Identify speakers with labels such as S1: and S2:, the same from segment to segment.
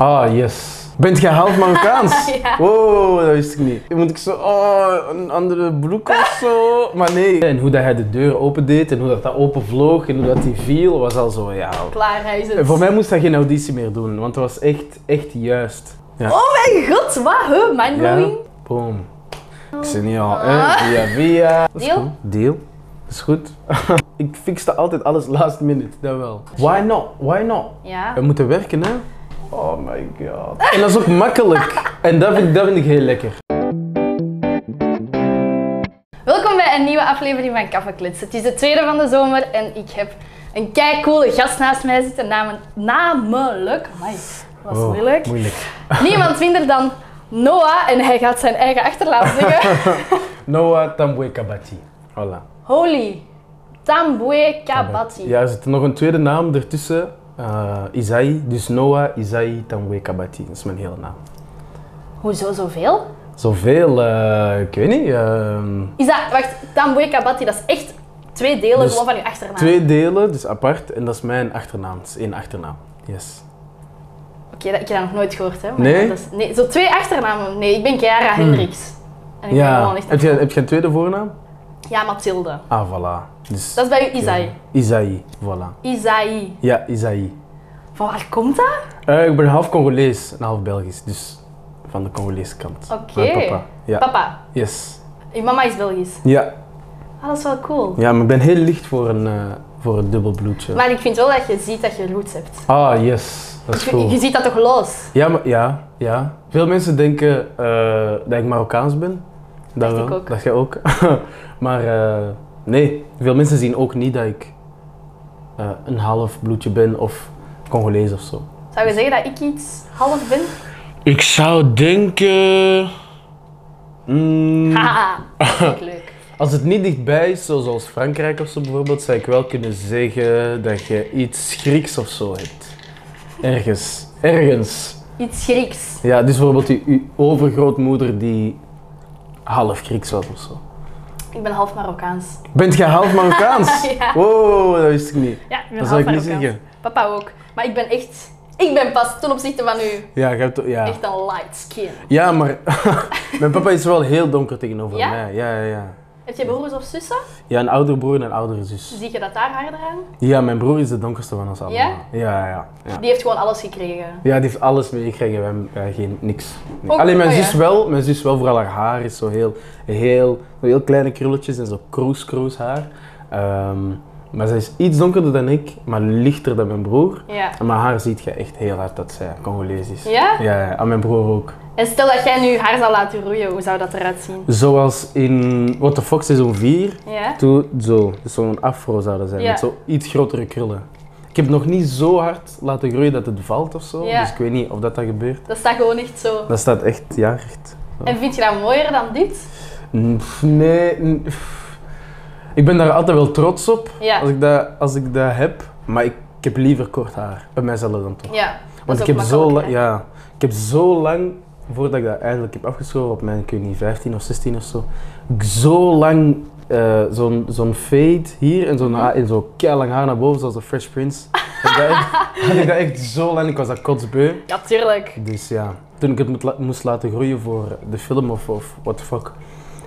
S1: Ah, yes. Bent jij half Marokkaans?
S2: Ja.
S1: Wow, dat wist ik niet. Moet ik zo, oh, een andere broek of zo? Maar nee. En hoe dat hij de deur opendeed en hoe dat, dat openvloog en hoe dat die viel, was al zo, ja.
S2: Klaar, hij is het.
S1: En voor mij moest hij geen auditie meer doen, want dat was echt, echt juist. Ja.
S2: Oh mijn god, wat? Huh? Mindblowing?
S1: Boom. Ik zie niet al, hè? Via, via. Dat is
S2: Oh. Deal?
S1: goed. Deal. Dat is goed. ik fixte altijd alles last minute, dat wel. Why not? Why not?
S2: Ja.
S1: We moeten werken, hè? Oh my god. En dat is ook makkelijk. En dat vind, ik- dat vind ik heel lekker.
S2: Welkom bij een nieuwe aflevering van Kaffeklits. Het is de tweede van de zomer en ik heb een keicoole gast naast mij zitten, namen, namelijk... Amai, was
S1: Oh,
S2: moeilijk.
S1: Moeilijk.
S2: Niemand minder dan Noah en hij gaat zijn eigen achterlaat zeggen.
S1: Noah Tambwe Nou, eh, Kabati. Voilà.
S2: Holy Tambwe Kabati.
S1: Ja, er zit nog een tweede naam ertussen. Eh Isai. Dus Noah Isai Tambwe Kabati. Dat is mijn hele naam.
S2: Hoezo zoveel?
S1: Zoveel, eh, ik weet niet. ehm,
S2: Is dat, wacht, Tambwe Kabati, dat is echt twee delen
S1: Dus
S2: gewoon van je achternaam.
S1: Twee delen, dus apart. En dat is mijn achternaam. Dat is één achternaam. Yes.
S2: Oké, dat ik heb dat nog nooit gehoord, hè? maar
S1: Nee? Hm.
S2: dat is- nee, zo twee achternamen. Nee, ik ben Chiara Hendricks. En ik ben
S1: Ja.
S2: gewoon echt
S1: Heb je, heb je een tweede voornaam?
S2: Ja, Mathilde.
S1: Ah, voilà. Dus,
S2: Dat is bij u Isai.
S1: Isai. Voilà.
S2: Isai.
S1: Ja, Isai.
S2: Van waar komt dat?
S1: Eh, ik ben half Congolees en half Belgisch. Dus van de Congolese kant.
S2: Oké.
S1: Mijn papa. Ja.
S2: Papa.
S1: Yes.
S2: Je mama is Belgisch.
S1: Ja.
S2: Ah, dat is wel cool.
S1: ja, maar ik ben heel licht voor een, eh, voor een dubbel bloedje.
S2: Maar ik vind wel dat je ziet dat je roots hebt.
S1: Ah, yes. Dat is
S2: Je,
S1: cool.
S2: je ziet dat toch los?
S1: Ja, maar, ja, ja. Veel mensen denken eh, dat ik Marokkaans ben. Dat
S2: Dacht ik
S1: wel.
S2: ook.
S1: Dat jij ook. maar eh, nee, veel mensen zien ook niet dat ik eh, een half bloedje ben of Congolees of zo.
S2: Zou je zeggen dat ik iets half ben?
S1: Ik zou denken. mm,
S2: Haha, dat vind ik leuk.
S1: als het niet dichtbij is, zo- zoals Frankrijk of zo bijvoorbeeld, zou ik wel kunnen zeggen dat je iets Grieks of zo hebt. Ergens. Ergens.
S2: Iets Grieks.
S1: Ja, dus bijvoorbeeld die, uw overgrootmoeder die half Grieks was of zo.
S2: Ik ben half Marokkaans.
S1: Bent jij half Marokkaans?
S2: Ja.
S1: Wow, dat wist ik niet.
S2: Ja, ik ben
S1: Dat
S2: half
S1: zou ik niet
S2: Marokkaans.
S1: zeggen.
S2: Papa ook. Maar ik ben echt... Ik ben pas ten opzichte van u
S1: Ja, je hebt, ja.
S2: echt een light skin.
S1: ja maar mijn papa is wel heel donker tegenover
S2: Ja?
S1: mij. Ja, ja, ja.
S2: Heb je broers of zussen?
S1: Ja, een oudere broer en een oudere zus.
S2: Zie je dat daar harder aan?
S1: Ja, mijn broer is de donkerste van ons allemaal.
S2: Ja?
S1: Ja, ja, ja.
S2: Die heeft gewoon alles gekregen.
S1: Ja, die heeft alles meegekregen. Wij hebben eh, geen niks. Nee.
S2: Ook-
S1: Alleen mijn
S2: oh ja.
S1: zus wel. Mijn zus wel, vooral haar haar is zo heel, heel, zo heel kleine krulletjes en zo kroes, kroes haar. Ehm, maar zij is iets donkerder dan ik, maar lichter dan mijn broer.
S2: Ja.
S1: En mijn haar ziet je echt heel hard dat zij Congolees is.
S2: Ja?
S1: Ja, ja, en mijn broer ook.
S2: En stel dat jij nu haar zou laten roeien, hoe zou dat eruit zien?
S1: Zoals in What the Fox seizoen 4.
S2: Ja?
S1: Toen zo, dus zo'n afro zouden zijn,
S2: Ja.
S1: met zo iets grotere krullen. Ik heb nog niet zo hard laten groeien dat het valt of zo.
S2: Ja.
S1: Dus ik weet niet of dat, dat gebeurt.
S2: Dat staat gewoon echt zo.
S1: Dat staat echt, ja, recht.
S2: En vind je dat mooier dan dit?
S1: Mm, pff, Nee. mm, pff. Ik ben daar altijd wel trots op
S2: Ja.
S1: als, ik dat, als ik dat heb. Maar ik, ik heb liever kort haar. Bij mijzelf dan toch.
S2: Ja.
S1: Want ik heb, zo lang, ja, ik heb zo lang, voordat ik dat eindelijk heb afgeschoven, op mijn, ik weet niet, 15 of 16 of zo. ik Zo lang eh, zo'n zo'n fade hier en zo'n ha- en zo lang haar naar boven, zoals de Fresh Prince. Had ik dat echt, had ik dat echt zo lang, ik was dat kotsbeu.
S2: Ja, tuurlijk.
S1: Dus ja, toen ik het moet la- moest laten groeien voor de film of, of what the fuck,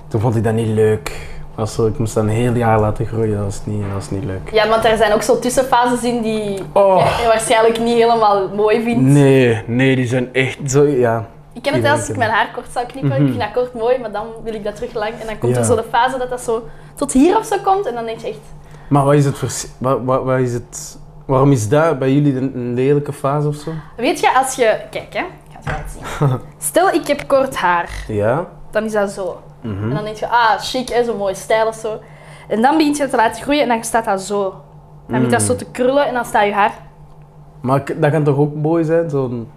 S1: toen vond ik dat niet leuk. Also, ik moest dat een heel jaar laten groeien, dat was niet, dat was niet leuk.
S2: Ja, want er zijn ook zo tussenfases in die
S1: Oh.
S2: je waarschijnlijk niet helemaal mooi vindt.
S1: Nee, nee, die zijn echt zo, ja.
S2: Ik ken het
S1: Die
S2: wel als
S1: vind
S2: ik
S1: ik
S2: mijn haar kort zou knippen. Ik vind dat kort mooi, maar dan wil ik dat terug lang. En dan komt
S1: Mhm. Ja.
S2: er zo de fase dat dat zo tot hier of zo komt. En dan denk je echt,
S1: Maar wat is het vers- wa- wa- wat is het, waarom is dat bij jullie een, een lelijke fase of zo?
S2: Weet je, als je... Kijk, hè. Ik ga het wel zien. Stel, ik heb kort haar.
S1: Ja?
S2: Dan is dat zo.
S1: Mhm.
S2: En dan denk je, ah, chic, hè, zo'n mooie stijl of zo. En dan begint je het te laten groeien en dan staat dat zo. Dan begint
S1: Mhm.
S2: dat zo te krullen en dan staat je haar...
S1: Maar k- dat kan toch ook mooi zijn, zo'n...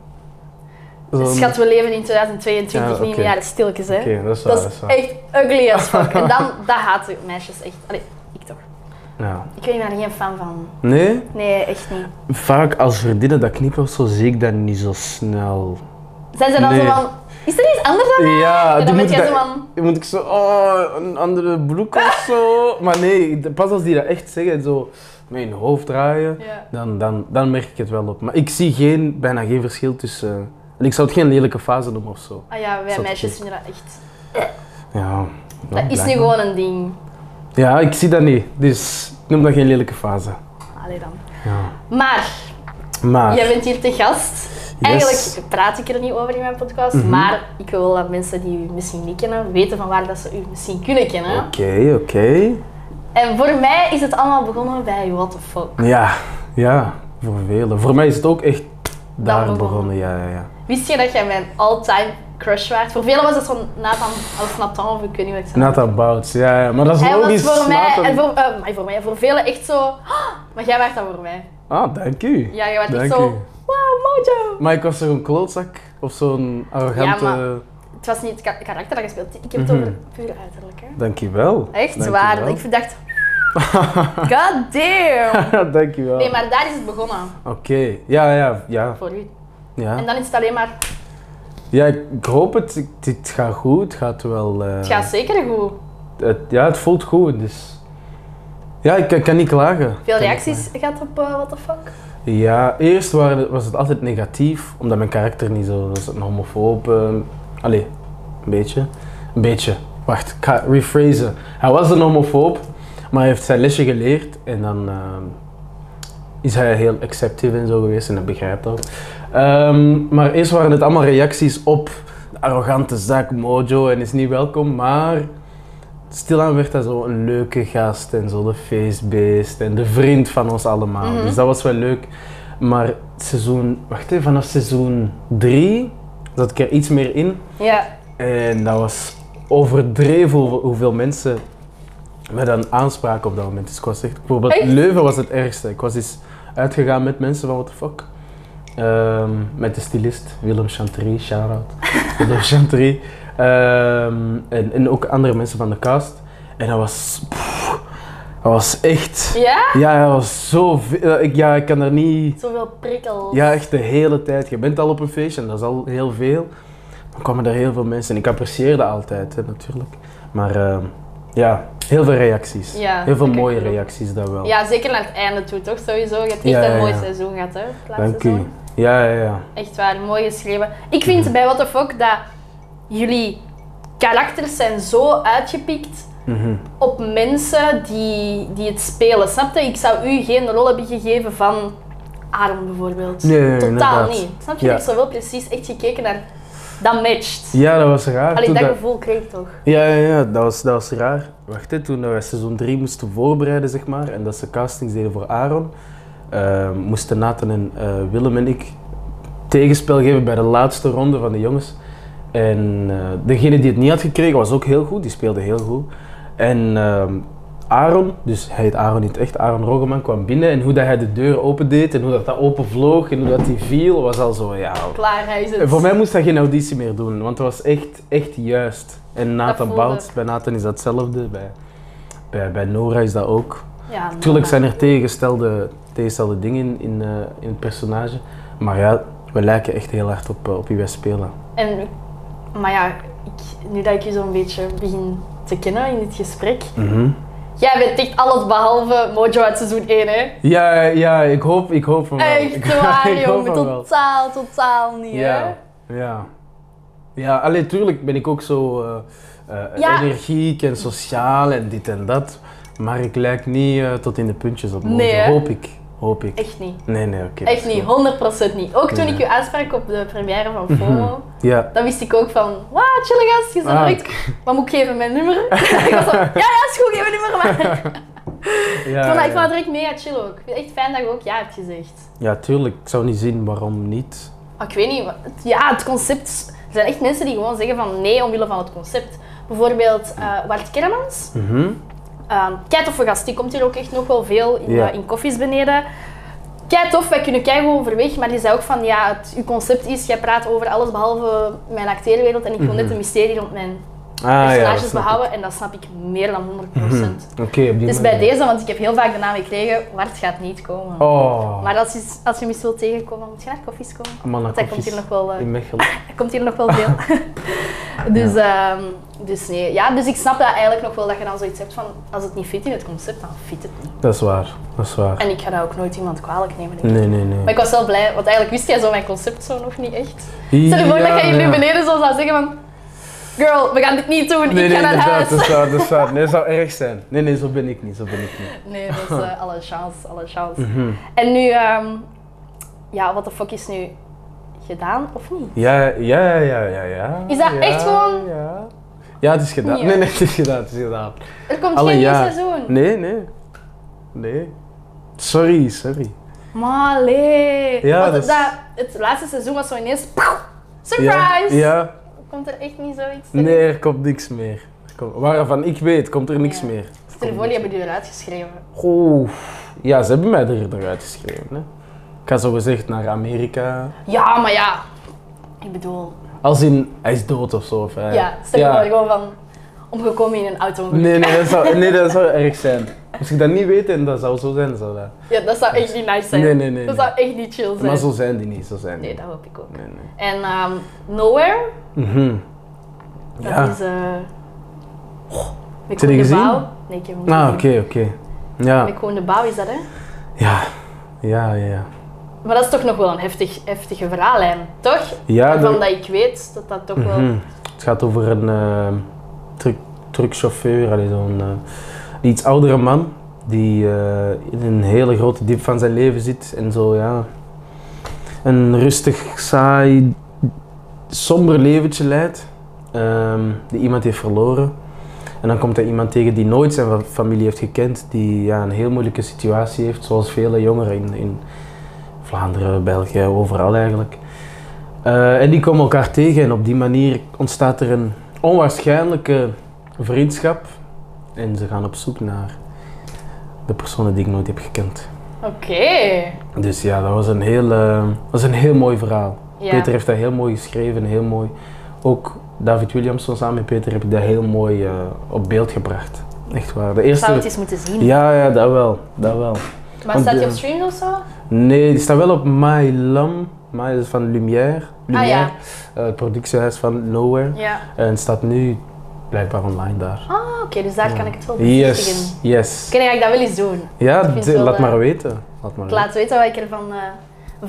S1: zo'n-
S2: Dus Schat, we leven in 2022,
S1: Ja, oké.
S2: niet in de jaren stilletjes, hè.
S1: Oké, dat is waar,
S2: dat
S1: dat
S2: is
S1: is waar.
S2: echt ugly as fuck. en dan, dat haten meisjes echt. Allee, ik toch.
S1: Ja.
S2: Ik ben daar geen fan van.
S1: Nee?
S2: Nee, echt niet.
S1: Vaak als verdienen dat knippen of zo, zie ik dat niet zo snel.
S2: Zijn ze dan
S1: Nee.
S2: zo van, is er iets anders dan mij?
S1: Ja,
S2: en
S1: die
S2: dan
S1: moet
S2: ben
S1: ik
S2: jij zo
S1: dat-
S2: van,
S1: Dan moet ik zo, oh, een andere broek of zo. Maar nee, de- pas als die dat echt zeggen, zo met hun hoofd draaien,
S2: ja.
S1: dan, dan, dan merk ik het wel op. Maar ik zie geen, bijna geen verschil tussen... eh, en ik zou het geen lelijke fase noemen of zo.
S2: Ah ja, wij
S1: Zat
S2: meisjes
S1: goed.
S2: vinden dat echt.
S1: Ja,
S2: Dat is nu
S1: blijkbaar.
S2: gewoon een ding.
S1: Ja, ik zie dat niet. Dus ik noem dat geen lelijke fase.
S2: Allee dan.
S1: Ja.
S2: Maar,
S1: Maar...
S2: jij bent hier te gast.
S1: Ah. Yes. Mhm.
S2: Eigenlijk praat ik er niet over in mijn podcast, maar ik wil dat mensen die u misschien niet kennen, weten van waar dat ze u misschien kunnen kennen.
S1: Oké, oké.
S2: En voor mij is het allemaal begonnen bij What the Fuck.
S1: Ja, ja, voor velen. Voor mij is het ook echt daar
S2: begonnen.
S1: begonnen. Ja, ja, ja.
S2: Wist je dat jij mijn all-time crush waard? Voor velen was dat zo'n Nathan of Nathan of ik weet niet wat ik zei.
S1: Nathan Bouts, ja, ja. Maar dat is
S2: Hij was
S1: logisch.
S2: voor mij,
S1: Nathan-
S2: en voor, eh, maar voor mij, voor velen echt zo, "Ah, maar jij waart dat voor mij.
S1: Ah, dank u.
S2: Ja, jij waart echt
S1: Dank
S2: zo,
S1: u.
S2: wow, mojo.
S1: Maar ik was zo'n klootzak of zo'n arrogante...
S2: Ja, Het was niet het ka- karakter dat je speelt, ik heb het
S1: Mhm.
S2: over puur uiterlijk. Hè.
S1: Dankjewel.
S2: Echt
S1: Dankjewel.
S2: waar, ik dacht, god damn.
S1: Dankjewel.
S2: Nee, maar daar is het begonnen
S1: Oké, ja, ja, ja.
S2: voor u. En
S1: Ja,
S2: dan is het alleen maar,
S1: ja ik, ik hoop het. Ik- Dit gaat goed. Het gaat wel... eh,
S2: het gaat zeker goed.
S1: het- ja, het voelt goed, dus... Ja, ik, ik kan niet klagen. Ik kan
S2: Veel
S1: niet
S2: reacties gaat op eh, What the Fuck.
S1: Ja, eerst waren, was het altijd negatief, omdat mijn karakter niet zo was. Een homofoob. eh, allee, een beetje. Een beetje. Wacht, ik ga rephrasen. Hij was een homofoob, maar hij heeft zijn lesje geleerd en dan ehm, is hij heel acceptief en zo geweest en dat begrijpt ook. Ehm, maar eerst waren het allemaal reacties op de arrogante zak Mojo en is niet welkom, maar stilaan werd hij zo een leuke gast en zo de feestbeest en de vriend van ons allemaal.
S2: Mhm.
S1: Dus dat was wel leuk. Maar seizoen, wacht even, vanaf seizoen 3 zat ik er iets meer in.
S2: Ja,
S1: En dat was overdreven hoe- hoeveel mensen me dan aanspraken op dat moment. Dus ik was echt, bijvoorbeeld
S2: Echt?
S1: Leuven was het ergste. Ik was eens uitgegaan met mensen van what the fuck. Ehm, met de stylist Willem Chantry, shout-out. Willem Chantry. Ehm, en, en ook andere mensen van de cast. En dat was... pff, dat was echt...
S2: ja?
S1: Ja, dat was zo... eh, Ik, ja, ik kan er niet...
S2: Zoveel prikkels.
S1: Ja, echt de hele tijd. Je bent al op een feestje en dat is al heel veel. Dan kwamen er heel veel mensen en ik apprecieerde altijd, hè, natuurlijk. Maar ehm, ja, heel veel reacties.
S2: Ja,
S1: heel veel
S2: dat kan
S1: mooie
S2: ik geloven.
S1: reacties, dat wel.
S2: Ja, zeker naar het einde toe, toch? Sowieso. Je hebt echt
S1: Ja,
S2: een
S1: ja,
S2: mooi
S1: ja.
S2: seizoen gehad, hè? het laatste
S1: Dank u.
S2: seizoen.
S1: Ja, ja, ja.
S2: Echt waar, mooi geschreven. Ik vind
S1: Mhm.
S2: bij What the Fuck dat jullie karakters zijn zo uitgepikt
S1: Mhm.
S2: op mensen die, die het spelen. Snap je? Ik zou u geen rol hebben gegeven van Aaron bijvoorbeeld.
S1: Nee, nee,
S2: Totaal
S1: inderdaad.
S2: niet. Snap je?
S1: Ja.
S2: Ik zou wel precies echt gekeken naar dat matcht.
S1: Ja, dat was raar.
S2: Alleen
S1: toen
S2: dat
S1: dat-
S2: gevoel kreeg ik toch.
S1: Ja, ja, ja dat, was, dat was raar. Wacht, hè, toen we seizoen 3 moesten voorbereiden, zeg maar, en dat ze castings deden voor Aaron, eh, moesten Nathan en eh, Willem en ik tegenspel geven bij de laatste ronde van de jongens. En eh, degene die het niet had gekregen was ook heel goed, die speelde heel goed. En ehm, Aaron, dus hij heet Aaron niet echt, Aaron Roggeman kwam binnen en hoe dat hij de deur opendeed en hoe dat, dat openvloog en hoe dat die viel, was al zo, ja,
S2: Klaar, hij is
S1: en
S2: het.
S1: Eh, Voor mij moest hij geen auditie meer doen, want het was echt, echt juist. En Nathan
S2: voelde
S1: Bouts,
S2: ik.
S1: bij Nathan is dat hetzelfde, bij, bij, bij Nora is dat ook.
S2: Ja,
S1: Tuurlijk
S2: maar-
S1: zijn er tegengestelde, tegengestelde dingen in, eh, in het personage, maar ja, we lijken echt heel hard op, eh, op wie wij spelen.
S2: En, maar ja, ik, nu dat ik je zo'n beetje begin te kennen in dit gesprek.
S1: Mhm.
S2: Jij bent echt alles behalve Mojo uit seizoen 1, hè?
S1: Ja, ja, ik hoop, ik hoop van wel. Ik-
S2: Echt waar,
S1: ik hoop
S2: jongen.
S1: van wel.
S2: Totaal, totaal niet, hè?
S1: Ja, ja. Ja, alleen tuurlijk ben ik ook zo eh, eh,
S2: Ja.
S1: energiek en sociaal en dit en dat. Maar ik lijk niet eh, tot in de puntjes op. Mojo.
S2: Nee, hè?
S1: hoop ik. Hoop ik.
S2: Echt niet.
S1: Nee, nee, oké.
S2: Echt niet, 100% niet. Ook toen
S1: Nee.
S2: ik u aansprak op de première van FOMO,
S1: Ja.
S2: dan wist ik ook van, wauw, chille gast, je bent
S1: Ah.
S2: nooit... Wat moet ik geven, mijn nummer? ik was zo, ja, ja, is goed, geef mijn nummer maar. Ik
S1: Ah, Ja,
S2: vond dat- ik vond
S1: ja.
S2: het direct mega chill ook. Ik vind het echt fijn dat je ook ja hebt gezegd.
S1: ja, tuurlijk. Ik zou niet zien waarom niet.
S2: Ah, Ik weet niet, wat- ja, het concept. Er zijn echt mensen die gewoon zeggen van nee omwille van het concept. Bijvoorbeeld eh Wart Kermans,
S1: Mhm.
S2: ehm kei toffe gast, die komt hier ook echt nog wel veel in,
S1: Ja.
S2: eh, in koffies beneden. Kei tof, wij kunnen kei goed overweg, maar die zei ook van ja, het, uw concept is, jij praat over alles behalve mijn acteerwereld en ik wil net een mysterie rond mijn
S1: Mhm. Ah, ja,
S2: personages
S1: dat snap Hm. Mhm.
S2: behouden. En dat snap ik meer dan 100%.
S1: Oké, op die
S2: Dus bij
S1: manier.
S2: deze, want ik heb heel vaak de naam gekregen, Wart gaat niet komen.
S1: Oh,
S2: Maar als je, als je hem eens wilt tegenkomen, moet je naar koffies komen.
S1: man, dat
S2: Want hij komt hier
S1: kopjes
S2: nog wel, eh,
S1: in Mechelen.
S2: hij komt hier nog wel veel. dus, ehm, dus nee, ja, dus ik snap dat eigenlijk nog wel dat je dan zoiets hebt van, als het niet fit in het concept, dan fit het niet.
S1: Dat is waar, dat is waar.
S2: En ik ga dat ook nooit iemand kwalijk nemen. denk ik.
S1: Nee, nee,
S2: Maar
S1: nee.
S2: ik was wel blij, want eigenlijk wist jij zo mijn concept zo nog niet echt. Stel je voor dat jij hier nu beneden zo zou zeggen van, girl, we gaan dit niet doen,
S1: Nee, nee,
S2: ik ga naar
S1: inderdaad,
S2: huis.
S1: dat is waar, dat is waar. Nee, dat zou erg zijn. Nee, nee, zo ben ik niet, zo ben ik niet.
S2: Nee, dat is eh, alle chance, alle chance.
S1: Mhm.
S2: En nu, ehm, ja, wat de fuck is nu gedaan of niet?
S1: Ja, ja, ja, ja, ja.
S2: Is dat
S1: ja,
S2: echt gewoon-
S1: Ja. ja, het is gedaan.
S2: Ja.
S1: Nee, nee, het is gedaan, het is gedaan.
S2: Er komt
S1: Alle
S2: geen nieuw
S1: jaar.
S2: seizoen.
S1: Nee, nee. Nee. Sorry, sorry.
S2: Maar nee.
S1: Ja,
S2: Want
S1: dat is-
S2: dat, het laatste seizoen was zo ineens. pow,
S1: Ja,
S2: surprise!
S1: ja.
S2: Komt er echt niet zoiets? in?
S1: Nee, er komt niks meer. Er komt, waarvan ik weet, komt er niks
S2: Ja.
S1: meer.
S2: Stel je voor, die hebben die eruit geschreven.
S1: Oeh. Ja, ze hebben mij er eruit geschreven. Hè. Ik ga zo gezegd naar Amerika.
S2: Ja, maar ja. Ik bedoel,
S1: Als in, hij is dood of zo. Of hij-
S2: ja. Stel je voor, gewoon van. Omgekomen in een auto.
S1: Nee, nee, dat zou, nee, dat zou erg zijn. Als ik dat niet weet, en dat zou zo zijn, zou dat.
S2: Ja, dat zou echt niet nice zijn.
S1: Nee, nee, nee,
S2: Dat
S1: nee.
S2: zou echt niet chill zijn.
S1: Maar zo zijn die niet, zo zijn die
S2: Nee,
S1: niet.
S2: dat hoop ik ook.
S1: Nee, nee.
S2: En ehm, Nowhere,
S1: Mhm.
S2: dat
S1: Ja.
S2: is. eh oh, Met
S1: Heb je die
S2: de
S1: gezien?
S2: Bouw. Nee, ik heb hem niet
S1: Ah,
S2: gezien.
S1: oké, oké. Ja.
S2: Met Koen de Bouw is dat, hè?
S1: Ja. Ja, ja, ja.
S2: Maar dat is toch nog wel een heftig, heftige verhaallijn, toch?
S1: Ja,
S2: Waarvan
S1: dat-
S2: dat ik weet dat dat toch wel...
S1: Mhm. Het gaat over een eh, truck, truckchauffeur, allee, zo'n eh, een iets oudere man die eh, in een hele grote diep van zijn leven zit en zo, ja. Een rustig, saai, somber leventje leidt, ehm, die iemand heeft verloren. En dan komt er iemand tegen die nooit zijn fa- familie heeft gekend, die ja, een heel moeilijke situatie heeft, zoals vele jongeren in, in Vlaanderen, België, overal eigenlijk. Eh, en die komen elkaar tegen en op die manier ontstaat er een onwaarschijnlijke vriendschap. En ze gaan op zoek naar de personen die ik nooit heb gekend.
S2: Oké.
S1: Dus ja, dat was een heel, eh, dat was een heel mooi verhaal.
S2: Ja.
S1: Peter heeft dat heel mooi geschreven, heel mooi. Ook David Williamson samen met Peter heb ik dat heel mooi eh, op beeld gebracht. Echt waar. De
S2: Ik zou
S1: eerste...
S2: het eens moeten zien.
S1: Ja, ja, dat wel. Dat wel.
S2: Maar
S1: want
S2: staat
S1: de-
S2: je op streams of zo?
S1: Nee, die staat wel op My Lam. My is van Lumière. Lumière.
S2: Ah ja.
S1: eh, het productiehuis van Nowhere.
S2: Ja.
S1: En het staat nu blijkbaar online daar.
S2: Ah, oké, dus daar kan ik het wel bevestigen.
S1: Yes, yes.
S2: Oké, dan ga ik dat wel eens doen.
S1: Ja,
S2: vind het
S1: de-
S2: wel,
S1: laat
S2: eh,
S1: maar weten. Laat maar
S2: Ik
S1: weten.
S2: laat weten wat ik ervan eh,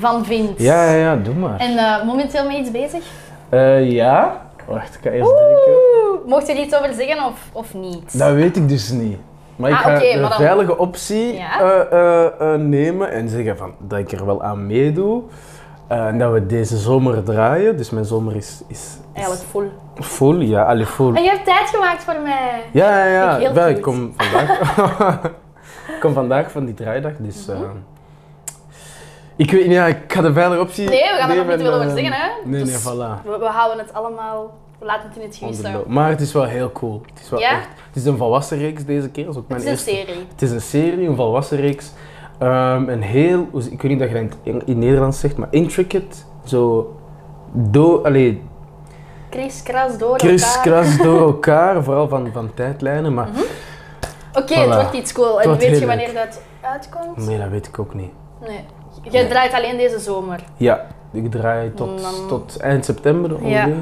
S2: van vind.
S1: Ja, ja, ja, doe maar.
S2: En eh, momenteel mee iets bezig?
S1: Eh, ja? Wacht, ik ga eerst denken.
S2: Oeh, mocht je er iets over zeggen of, of niet?
S1: Dat weet ik dus niet. Maar ik
S2: Ah,
S1: ga
S2: oké,
S1: de
S2: maar dan-
S1: veilige optie
S2: Ja?
S1: eh, eh, eh, nemen en zeggen van, dat ik er wel aan meedoe. Eh, en dat we deze zomer draaien. Dus mijn zomer is, is, is
S2: Eigenlijk vol.
S1: full. Ja, alle full.
S2: En je hebt tijd gemaakt voor mij.
S1: Ja, ja,
S2: Vind
S1: ja.
S2: ik heel
S1: Wel,
S2: goed.
S1: ik kom vandaag. ik kom vandaag van die draaidag, dus.
S2: Mhm.
S1: eh, ik weet niet, ja, ik ga de veilige optie.
S2: Nee, we gaan er nog
S1: nemen
S2: niet veel
S1: en,
S2: over
S1: eh,
S2: zeggen, hè?
S1: Nee, nee,
S2: Dus-
S1: voilà.
S2: We, we houden het allemaal... We laten het in het
S1: on the
S2: gewis houden.
S1: low. Maar het is wel heel cool. Het is, wel
S2: Ja?
S1: echt, het is een volwassen reeks deze keer. Dat is ook
S2: Het
S1: mijn
S2: is een
S1: eerste.
S2: serie.
S1: Het is een serie, een volwassen reeks. Ehm, een heel, hoe z- ik weet niet dat je dat in, in Nederlands zegt, maar intricate. Zo, do, allee,
S2: Chris, kras, door elkaar. Mhm.
S1: kriskras door elkaar, vooral van, van tijdlijnen. Maar
S2: Oké,
S1: Voilà.
S2: het wordt iets cool.
S1: Het
S2: En
S1: wordt
S2: weet je
S1: heel
S2: wanneer dat uitkomt?
S1: nee, dat weet ik ook niet.
S2: Nee. Jij
S1: Nee.
S2: draait alleen deze zomer.
S1: Ja, ik draai tot,
S2: Dan-
S1: tot eind september ongeveer.
S2: Ja.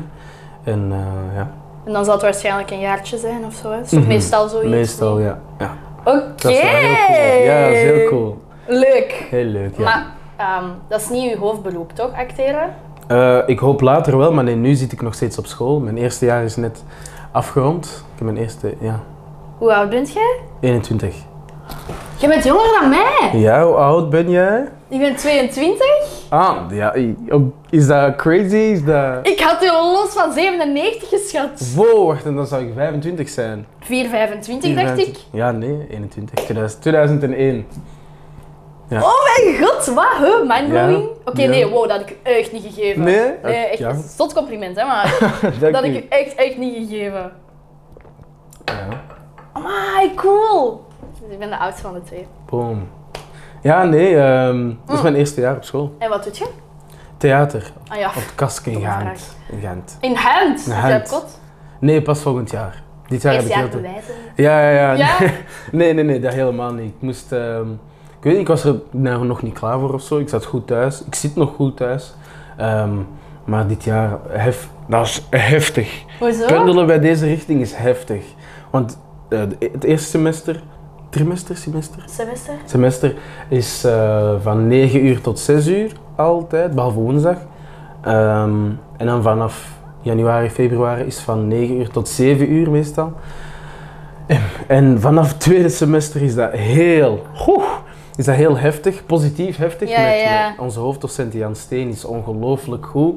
S1: En eh, ja,
S2: En dan zal het waarschijnlijk een jaartje zijn of zo. Hè? Is toch
S1: Mhm.
S2: Meestal zoiets.
S1: meestal
S2: nee?
S1: ja. ja.
S2: Oké.
S1: Dat is wel heel cool. Ja, dat is heel cool.
S2: Leuk.
S1: Heel leuk, ja.
S2: Maar ehm, dat is niet uw hoofdberoep, toch? Acteren?
S1: Eh, ik hoop later wel, maar nee, nu zit ik nog steeds op school. Mijn eerste jaar is net afgerond. Ik heb mijn eerste, ja,
S2: Hoe oud bent jij?
S1: 21.
S2: Je bent jonger dan mij.
S1: Ja, hoe oud ben jij?
S2: Ik ben 22.
S1: Ah, ja, i- op- is dat crazy? Is dat...
S2: Ik had u los van 97 geschat.
S1: Wow, wacht, en dan zou ik 25 zijn.
S2: 425 dacht ik.
S1: Ja, nee, 21. 2000 2001. Ja.
S2: Oh mijn god, wat? Huh? Mindblowing?
S1: Ja.
S2: Oké,
S1: Ja.
S2: nee, wow, dat had ik u echt niet gegeven. Eh,
S1: Nee?
S2: echt
S1: Ja.
S2: een zot compliment, hè, maar
S1: Dank
S2: dat had
S1: u.
S2: ik u echt, echt niet gegeven.
S1: Ja.
S2: Amai, cool! Dus ik ben de oudste van de twee.
S1: Boom. Ja, nee, ehm, dat is mijn eerste jaar op school.
S2: En wat doet je?
S1: Theater,
S2: Ah ja,
S1: op Kask in
S2: Domme
S1: Gent. In Gent.
S2: in hand.
S1: In
S2: Is dat
S1: hand.
S2: kot?
S1: Nee, pas volgend jaar. Dit jaar heb
S2: Eerst
S1: ik
S2: jaar
S1: heel te-
S2: bewijzen.
S1: Ja, ja, ja.
S2: Ja?
S1: Nee, nee, nee, dat helemaal niet. Ik moest... ehm, ik weet niet, ik was er nou nog niet klaar voor of zo. Ik zat goed thuis. Ik zit nog goed thuis. Ehm, maar dit jaar, hef, dat is heftig.
S2: Hoezo?
S1: Pendelen bij deze richting is heftig. Want eh, de- het eerste semester, trimester, semester,
S2: Semester?
S1: semester is eh, van 9 uur tot 6 uur altijd, behalve woensdag. Ehm, en dan vanaf januari, februari is van 9 uur tot 7 uur meestal. En, en vanaf het tweede semester is dat heel, Oeh, is dat heel heftig, positief heftig.
S2: Ja,
S1: met,
S2: ja.
S1: met onze hoofddocent Jan Steen is ongelooflijk goed.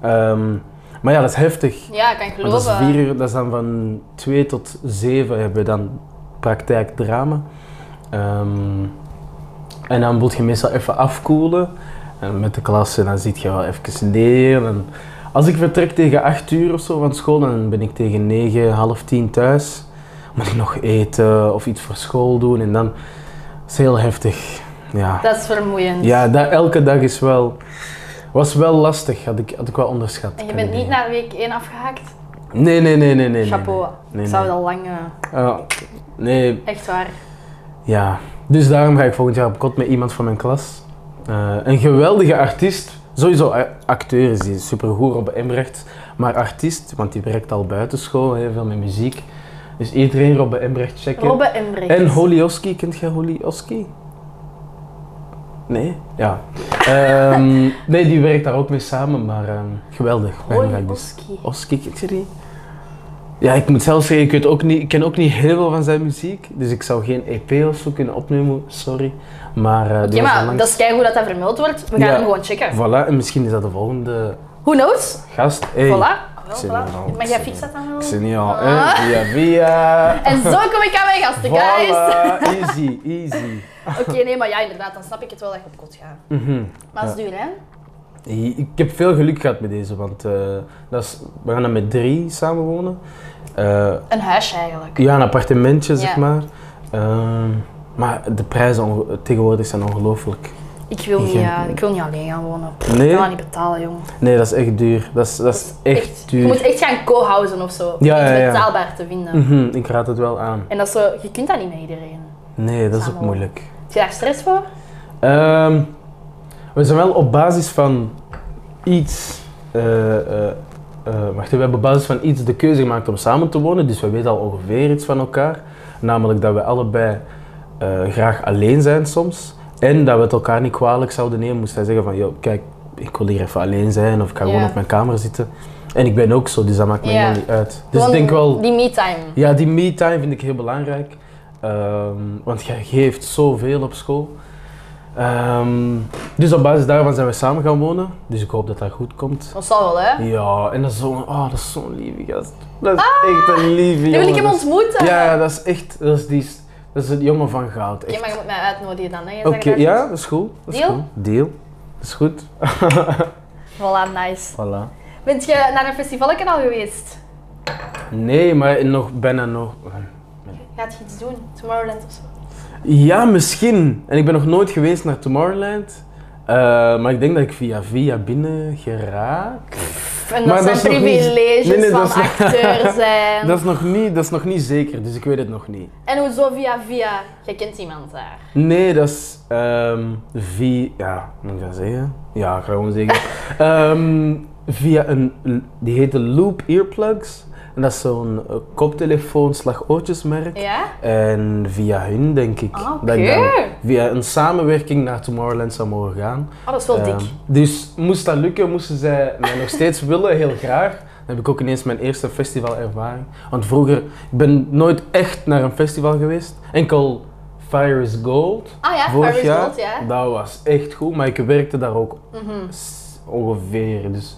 S1: Ehm, maar ja, dat is heftig.
S2: Ja, ik kan
S1: Maar dat is
S2: geloven.
S1: vier uur, dat is dan van twee tot zeven hebben we dan praktijk drama. Ehm, en dan moet je meestal even afkoelen. En met de klas, en dan zit je wel even neer. En als ik vertrek tegen acht uur of zo van school, dan ben ik tegen negen, half tien thuis. Moet ik nog eten of iets voor school doen en dan dat is heel heftig. Ja,
S2: Dat is vermoeiend.
S1: ja dat, elke dag is wel, was wel lastig, had ik, had ik wel onderschat.
S2: En je
S1: kan
S2: bent
S1: ik
S2: niet
S1: zeggen.
S2: naar week 1 afgehaakt?
S1: Nee, nee, nee, nee, nee. nee.
S2: Chapeau.
S1: nee.
S2: Ik zou dat lang... eh,
S1: Ah, nee,
S2: echt waar.
S1: ja. Dus daarom ga ik volgend jaar op kot met iemand van mijn klas. Eh, een geweldige artiest. Sowieso eh, acteur is die supergoed op Embrecht. Maar artiest, want die werkt al buiten school, heel veel met muziek. Dus iedereen Robbe Embrecht checken.
S2: Robbe Embrecht.
S1: En Holioski, kent jij Holioski? Nee? Ja. Ehm, nee, die werkt daar ook mee samen, maar ehm, geweldig. Belangrijk dus.
S2: Holioski.
S1: Oski, kent je die? Ja, ik moet zelf zeggen, ik, weet ook niet, ik ken ook niet heel veel van zijn muziek. Dus ik zou geen EP of zo kunnen opnemen, sorry. Maar, eh, die
S2: Oké,
S1: was
S2: maar
S1: onlangs-
S2: dat is keigoed dat dat vermeld wordt. We gaan
S1: Ja.
S2: hem gewoon checken.
S1: Voilà, en misschien is dat de volgende
S2: Who knows?
S1: gast. Hey,
S2: Voilà. Ah, wel,
S1: zin in al.
S2: voilà. Maar
S1: Zin
S2: jij
S1: in.
S2: fixt dat dan
S1: Ik
S2: wel?
S1: zit niet al, hè?
S2: Ah.
S1: Via, via.
S2: En zo kom ik aan mijn gasten, guys.
S1: Voilà, easy, easy.
S2: Oké, nee, maar ja, inderdaad. Dan snap ik het wel dat je op kot gaat.
S1: Mhm.
S2: Maar dat is duur, hè?
S1: I- Ik heb veel geluk gehad met deze, want eh, dat is, we gaan dan met drie samenwonen. Eh
S2: Een huisje eigenlijk.
S1: Ja, een appartementje, zeg
S2: Ja.
S1: maar. Ehm, maar de prijzen onge- tegenwoordig zijn ongelooflijk.
S2: Ik wil, niet,
S1: Geen-
S2: eh, ik wil niet alleen gaan wonen. Pff,
S1: Nee?
S2: Ik kan dat niet betalen, jong.
S1: Nee, dat is echt duur. Dat is, dat is echt,
S2: Je
S1: duur.
S2: moet echt gaan co-housen of zo. om
S1: Ja,
S2: iets
S1: ja, ja.
S2: betaalbaar te vinden.
S1: Mhm, ik raad het wel aan.
S2: En dat is zo, je kunt dat niet met iedereen.
S1: Nee, dat is ook
S2: Samen.
S1: moeilijk.
S2: Heb je daar stress voor?
S1: Ehm, we zijn wel op basis van iets. eh, eh, eh, wacht, we hebben op basis van iets de keuze gemaakt om samen te wonen. Dus we weten al ongeveer iets van elkaar. Namelijk dat we allebei eh, graag alleen zijn soms. En dat we het elkaar niet kwalijk zouden nemen. Moest hij zeggen van, joh, kijk, ik wil hier even alleen zijn. Of ik ga
S2: Ja.
S1: gewoon op mijn kamer zitten. En ik ben ook zo, dus dat maakt me
S2: Ja.
S1: helemaal niet uit. Dus ik
S2: Gewoon
S1: denk wel...
S2: Die me-time.
S1: Ja, die me-time vind ik heel belangrijk. Ehm, want jij geeft zoveel op school. Ehm, dus op basis daarvan zijn we samen gaan wonen. Dus ik hoop dat dat goed komt.
S2: Dat zal wel, hè?
S1: Ja, en dat is zo'n oh, dat is zo'n lieve gast. Dat is echt een lieve
S2: Nu Ah! wil
S1: jongen.
S2: ik hem
S1: Dat is-
S2: ontmoeten.
S1: Ja, dat is echt, dat is, die, dat is een jongen van goud.
S2: Oké,
S1: echt.
S2: maar je moet mij uitnodigen dan, hè? Je
S1: Oké,
S2: zegt dat
S1: ja, dat is goed. Dat is
S2: Deal?
S1: Goed. Deal. Dat is goed.
S2: niet. Voilà, nice.
S1: Voilà.
S2: Bent je naar een festival al geweest?
S1: Nee, maar nog, bijna nog.
S2: Gaat je iets doen? Tomorrowland of zo?
S1: Ja, misschien. En ik ben nog nooit geweest naar Tomorrowland. Eh, maar ik denk dat ik via via binnen geraak.
S2: En
S1: Maar
S2: dat
S1: dat
S2: zijn
S1: is nog niet-
S2: privileges
S1: Nee, nee,
S2: van
S1: dat is nog-
S2: acteur zijn.
S1: Dat is, nog niet, dat is nog niet zeker, dus ik weet het nog niet.
S2: En hoezo via via? Je kent iemand daar.
S1: Nee, dat is ehm, via... Ja, moet ik dat zeggen? Ja, ik ga gewoon zeggen. Ehm, via een... Die heette Loop Earplugs. En dat is zo'n eh, koptelefoon slag oortjesmerk.
S2: Ja?
S1: En via hun, denk ik.
S2: Ah, oké.
S1: Dat ik dan via een samenwerking naar Tomorrowland zou mogen gaan.
S2: Oh, dat is wel
S1: Ehm,
S2: dik.
S1: Dus moest dat lukken, moesten zij mij nog steeds willen, heel graag. Dan heb ik ook ineens mijn eerste festivalervaring. Want vroeger, ik ben nooit echt naar een festival geweest. Enkel Fire is Gold.
S2: Ah ja,
S1: vorig
S2: Paris
S1: jaar.
S2: Gold, ja.
S1: Dat was echt goed, maar ik werkte daar ook
S2: Mhm.
S1: s- ongeveer. Dus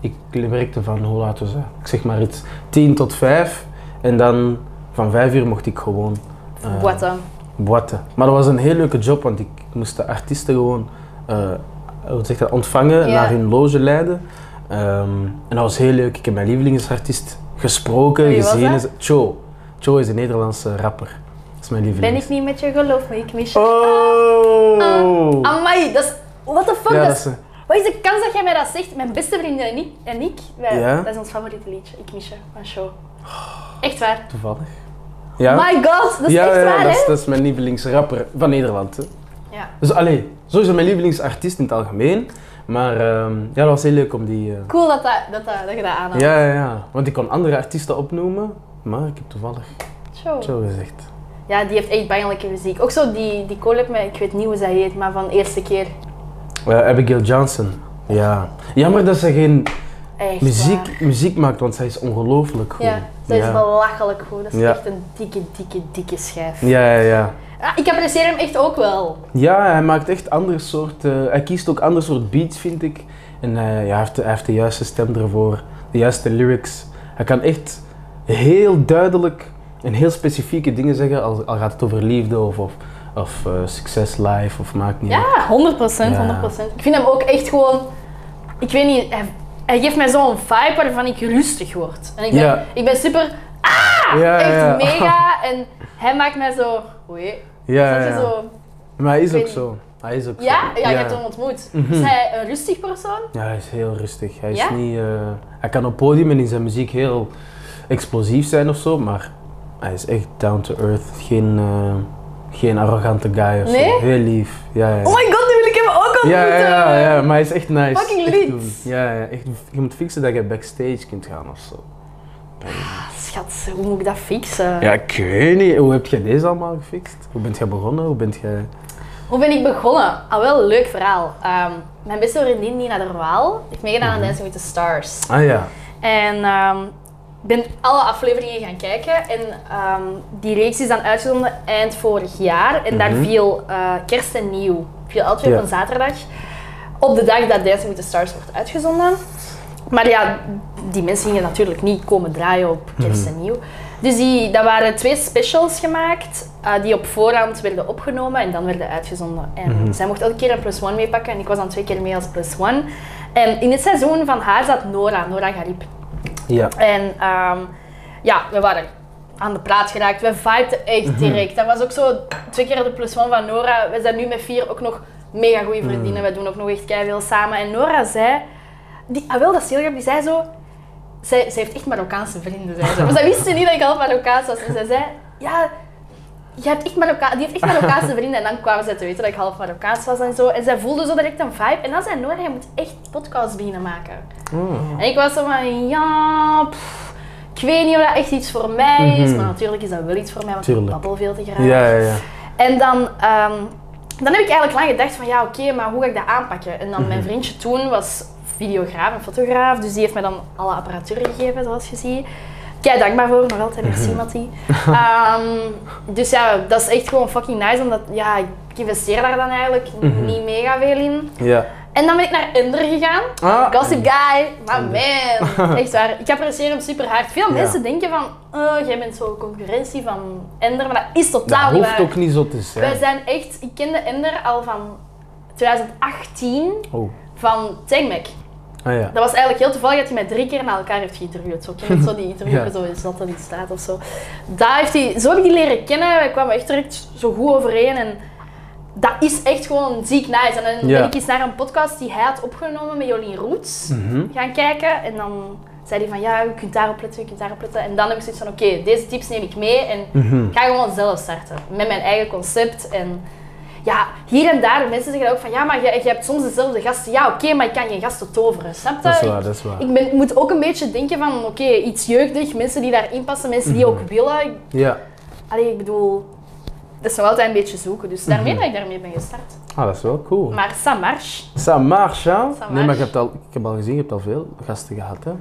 S1: ik werkte van, hoe laat was dat? Ik zeg maar iets, 10 tot 5. En dan van 5 uur mocht ik gewoon eh,
S2: Wat dan?
S1: boiten. Maar dat was een heel leuke job, want ik moest de artiesten gewoon eh, hoe zeg je dat, ontvangen,
S2: Ja.
S1: naar hun loge leiden. Ehm, en dat was heel leuk. Ik heb mijn lievelingsartiest gesproken,
S2: Wie was
S1: gezien.
S2: dat?
S1: is- Cho. Cho is een Nederlandse rapper. Dat is mijn
S2: Ben
S1: lieveling.
S2: ik niet met je geloof, maar ik Ah, mis je.
S1: Oh!
S2: Amai, dat is... What the fuck?
S1: ja,
S2: dat
S1: dat
S2: is-
S1: is,
S2: Wat is de kans dat jij mij dat zegt? Mijn beste vriendin en ik, en ik wij-
S1: Ja?
S2: dat is ons favoriete liedje. Ik mis je, van show. Echt waar.
S1: Toevallig. Ja,
S2: My god, dat is
S1: ja,
S2: echt
S1: ja,
S2: waar,
S1: dat, is,
S2: hè?
S1: dat is mijn lievelingsrapper van Nederland. Hè.
S2: Ja.
S1: Dus allee, sowieso mijn lievelingsartiest in het algemeen. Maar ehm, ja, dat was heel leuk om die. eh,
S2: Cool dat, dat, dat, dat, dat je dat aanhaalt.
S1: ja, ja, ja. Want ik kon andere artiesten opnoemen, maar ik heb toevallig
S2: Zo.
S1: zo gezegd.
S2: Ja, die heeft echt bangelijke muziek. Ook zo die, die collab met, ik weet niet hoe zij heet, maar van de eerste keer.
S1: Eh, Abigail Johnson. Ja. Jammer dat ze geen
S2: Echt waar.
S1: muziek, muziek maakt, want zij is ongelooflijk goed.
S2: Ja, dat is
S1: ja.
S2: belachelijk goed. Dat is
S1: Ja.
S2: echt een dikke, dikke, dikke schijf.
S1: Ja, ja, ja.
S2: Ah, ik apprecieer hem echt ook wel.
S1: Ja, hij maakt echt andere soort. eh, hij kiest ook ander soort beats, vind ik. En eh, ja, hij, heeft de, hij heeft de juiste stem ervoor, de juiste lyrics. Hij kan echt heel duidelijk en heel specifieke dingen zeggen, al, al gaat het over liefde of, of, of eh, succes life of maakt niet uit.
S2: Ja, 100%, 100%. Ik vind hem ook echt gewoon... Ik weet niet, hij, hij geeft mij zo'n vibe waarvan ik rustig word. En ik ben,
S1: Ja.
S2: ik ben super,
S1: ja,
S2: echt
S1: ja.
S2: mega en hij maakt mij zo... Oei.
S1: Ja,
S2: Snap
S1: ja,
S2: je,
S1: ja.
S2: Zo,
S1: Maar hij is
S2: Ik
S1: ook
S2: weet
S1: zo. Hij is ook
S2: ja?
S1: zo.
S2: ja, je hebt hem ontmoet. Is hij een rustig persoon?
S1: Mhm. Ja, hij is heel rustig. Hij, is
S2: Ja?
S1: niet, eh, hij kan op podium en in zijn muziek heel explosief zijn of zo, maar hij is echt down to earth. Geen, eh, geen arrogante guy of
S2: Nee?
S1: zo. Heel lief. Ja, ja.
S2: Oh my god, die wil ik hem ook ontmoeten!
S1: ja, ja, ja, ja, maar hij is echt nice.
S2: Fucking
S1: Echt
S2: lief.
S1: doen. Ja, ja, echt. Je moet fixen dat je backstage kunt gaan of zo.
S2: Schat, hoe moet ik dat fixen?
S1: Ja, ik weet niet. Hoe heb jij deze allemaal gefixt? Hoe bent jij begonnen? Hoe bent jij...
S2: Hoe ben ik begonnen? Ah, wel een leuk verhaal. Ehm, mijn beste vriendin Nina de Waal heeft meegedaan aan Dancing with the Stars.
S1: Ah ja.
S2: En ehm, ik ben alle afleveringen gaan kijken. En ehm, die reeks is dan uitgezonden eind vorig jaar. En daar viel eh, kerst en nieuw. Viel altijd weer
S1: Ja.
S2: op een zaterdag. Op de dag dat Dancing with the Stars wordt uitgezonden. Maar ja, die mensen gingen natuurlijk niet komen draaien op kerst en nieuw. Dus die, dat waren twee specials gemaakt eh, die op voorhand werden opgenomen en dan werden uitgezonden. En zij mocht elke keer een plus one meepakken en ik was dan twee keer mee als plus one. En in het seizoen van haar zat Nora, Nora Garib.
S1: Ja.
S2: En ehm, ja, we waren aan de praat geraakt. We vibten echt direct. Dat was ook zo twee keer de plus one van Nora. We zijn nu met vier ook nog mega goede vriendinnen. We doen ook nog echt veel samen. En Nora zei, die, ah wel, dat is heel grappig, die zei zo... Zij, zij heeft echt Marokkaanse vrienden, zei ze. Maar zij wist niet dat ik half Marokkaans was. En zij zei, ja, je hebt echt Marokka die heeft echt Marokkaanse vrienden. En dan kwamen zij te weten dat ik half Marokkaans was en zo. En zij voelde zo direct een vibe. En dan zei Nora, je moet echt podcasts beginnen maken. En ik was zo van, ja, pff, ik weet niet of dat echt iets voor mij is. Maar natuurlijk is dat wel iets voor mij, want
S1: Mhm. Tuurlijk.
S2: ik babbel veel te graag.
S1: Ja, ja, ja.
S2: En dan, ehm, dan heb ik eigenlijk lang gedacht van ja, oké, maar hoe ga ik dat aanpakken? En dan mijn
S1: Mhm.
S2: vriendje toen was videograaf en fotograaf, dus die heeft mij dan alle apparatuur gegeven, zoals je ziet. Kijk, dankbaar voor, nog altijd merci
S1: Mhm.
S2: Mattie. Ehm, dus ja, dat is echt gewoon fucking nice, omdat ja, ik investeer daar dan eigenlijk
S1: Mhm.
S2: niet mega veel in.
S1: ja.
S2: En dan ben ik naar Ender gegaan.
S1: Ah.
S2: Gossip Guy, maar man, echt waar. Ik apprecieer hem super hard. Veel
S1: Ja.
S2: mensen denken van, oh, jij bent zo'n concurrentie van Ender, maar dat is
S1: Dat
S2: totaal niet
S1: hoeft
S2: waar.
S1: ook niet zo te
S2: Wij
S1: zijn.
S2: zijn echt, ik kende Ender al van 2018
S1: Oh.
S2: van Tangmac.
S1: Ah ja.
S2: Dat was eigenlijk heel toevallig dat hij mij drie keer na elkaar heeft geïnterviewd. Zo ken je het zo, die interviewen
S1: Ja.
S2: zo in Zat en in Staat of zo. Daar heeft hij, zo heb ik die leren kennen. Wij kwamen echt direct zo goed overeen. En dat is echt gewoon ziek nice. En dan
S1: Ja.
S2: ben ik eens naar een podcast die hij had opgenomen met Jolien Roets
S1: Mhm.
S2: gaan kijken. En dan zei hij van, ja, je kunt daarop letten, je kunt daarop letten. En dan heb ik zoiets van, oké, deze tips neem ik mee en
S1: Mhm.
S2: ga gewoon zelf starten. Met mijn eigen concept en... Ja, hier en daar, mensen zeggen ook van ja, maar je, je hebt soms dezelfde gasten. Ja, oké, maar ik kan geen gasten toveren. Snap je?
S1: Dat is waar,
S2: Ik-
S1: dat is waar.
S2: ik ben, moet ook een beetje denken van, oké, iets jeugdig, mensen die daarin passen, mensen
S1: Mhm.
S2: die ook willen. Ik-
S1: Ja.
S2: Allee, ik bedoel, dat is nog altijd een beetje zoeken. Dus daarmee
S1: Mhm.
S2: dat ik daarmee ben gestart.
S1: Ah, dat is wel cool.
S2: Maar Samarche,
S1: Ça marche, hè?
S2: Ça
S1: Nee, maar
S2: marche.
S1: je hebt al, ik heb al gezien, je hebt al veel gasten gehad, hè?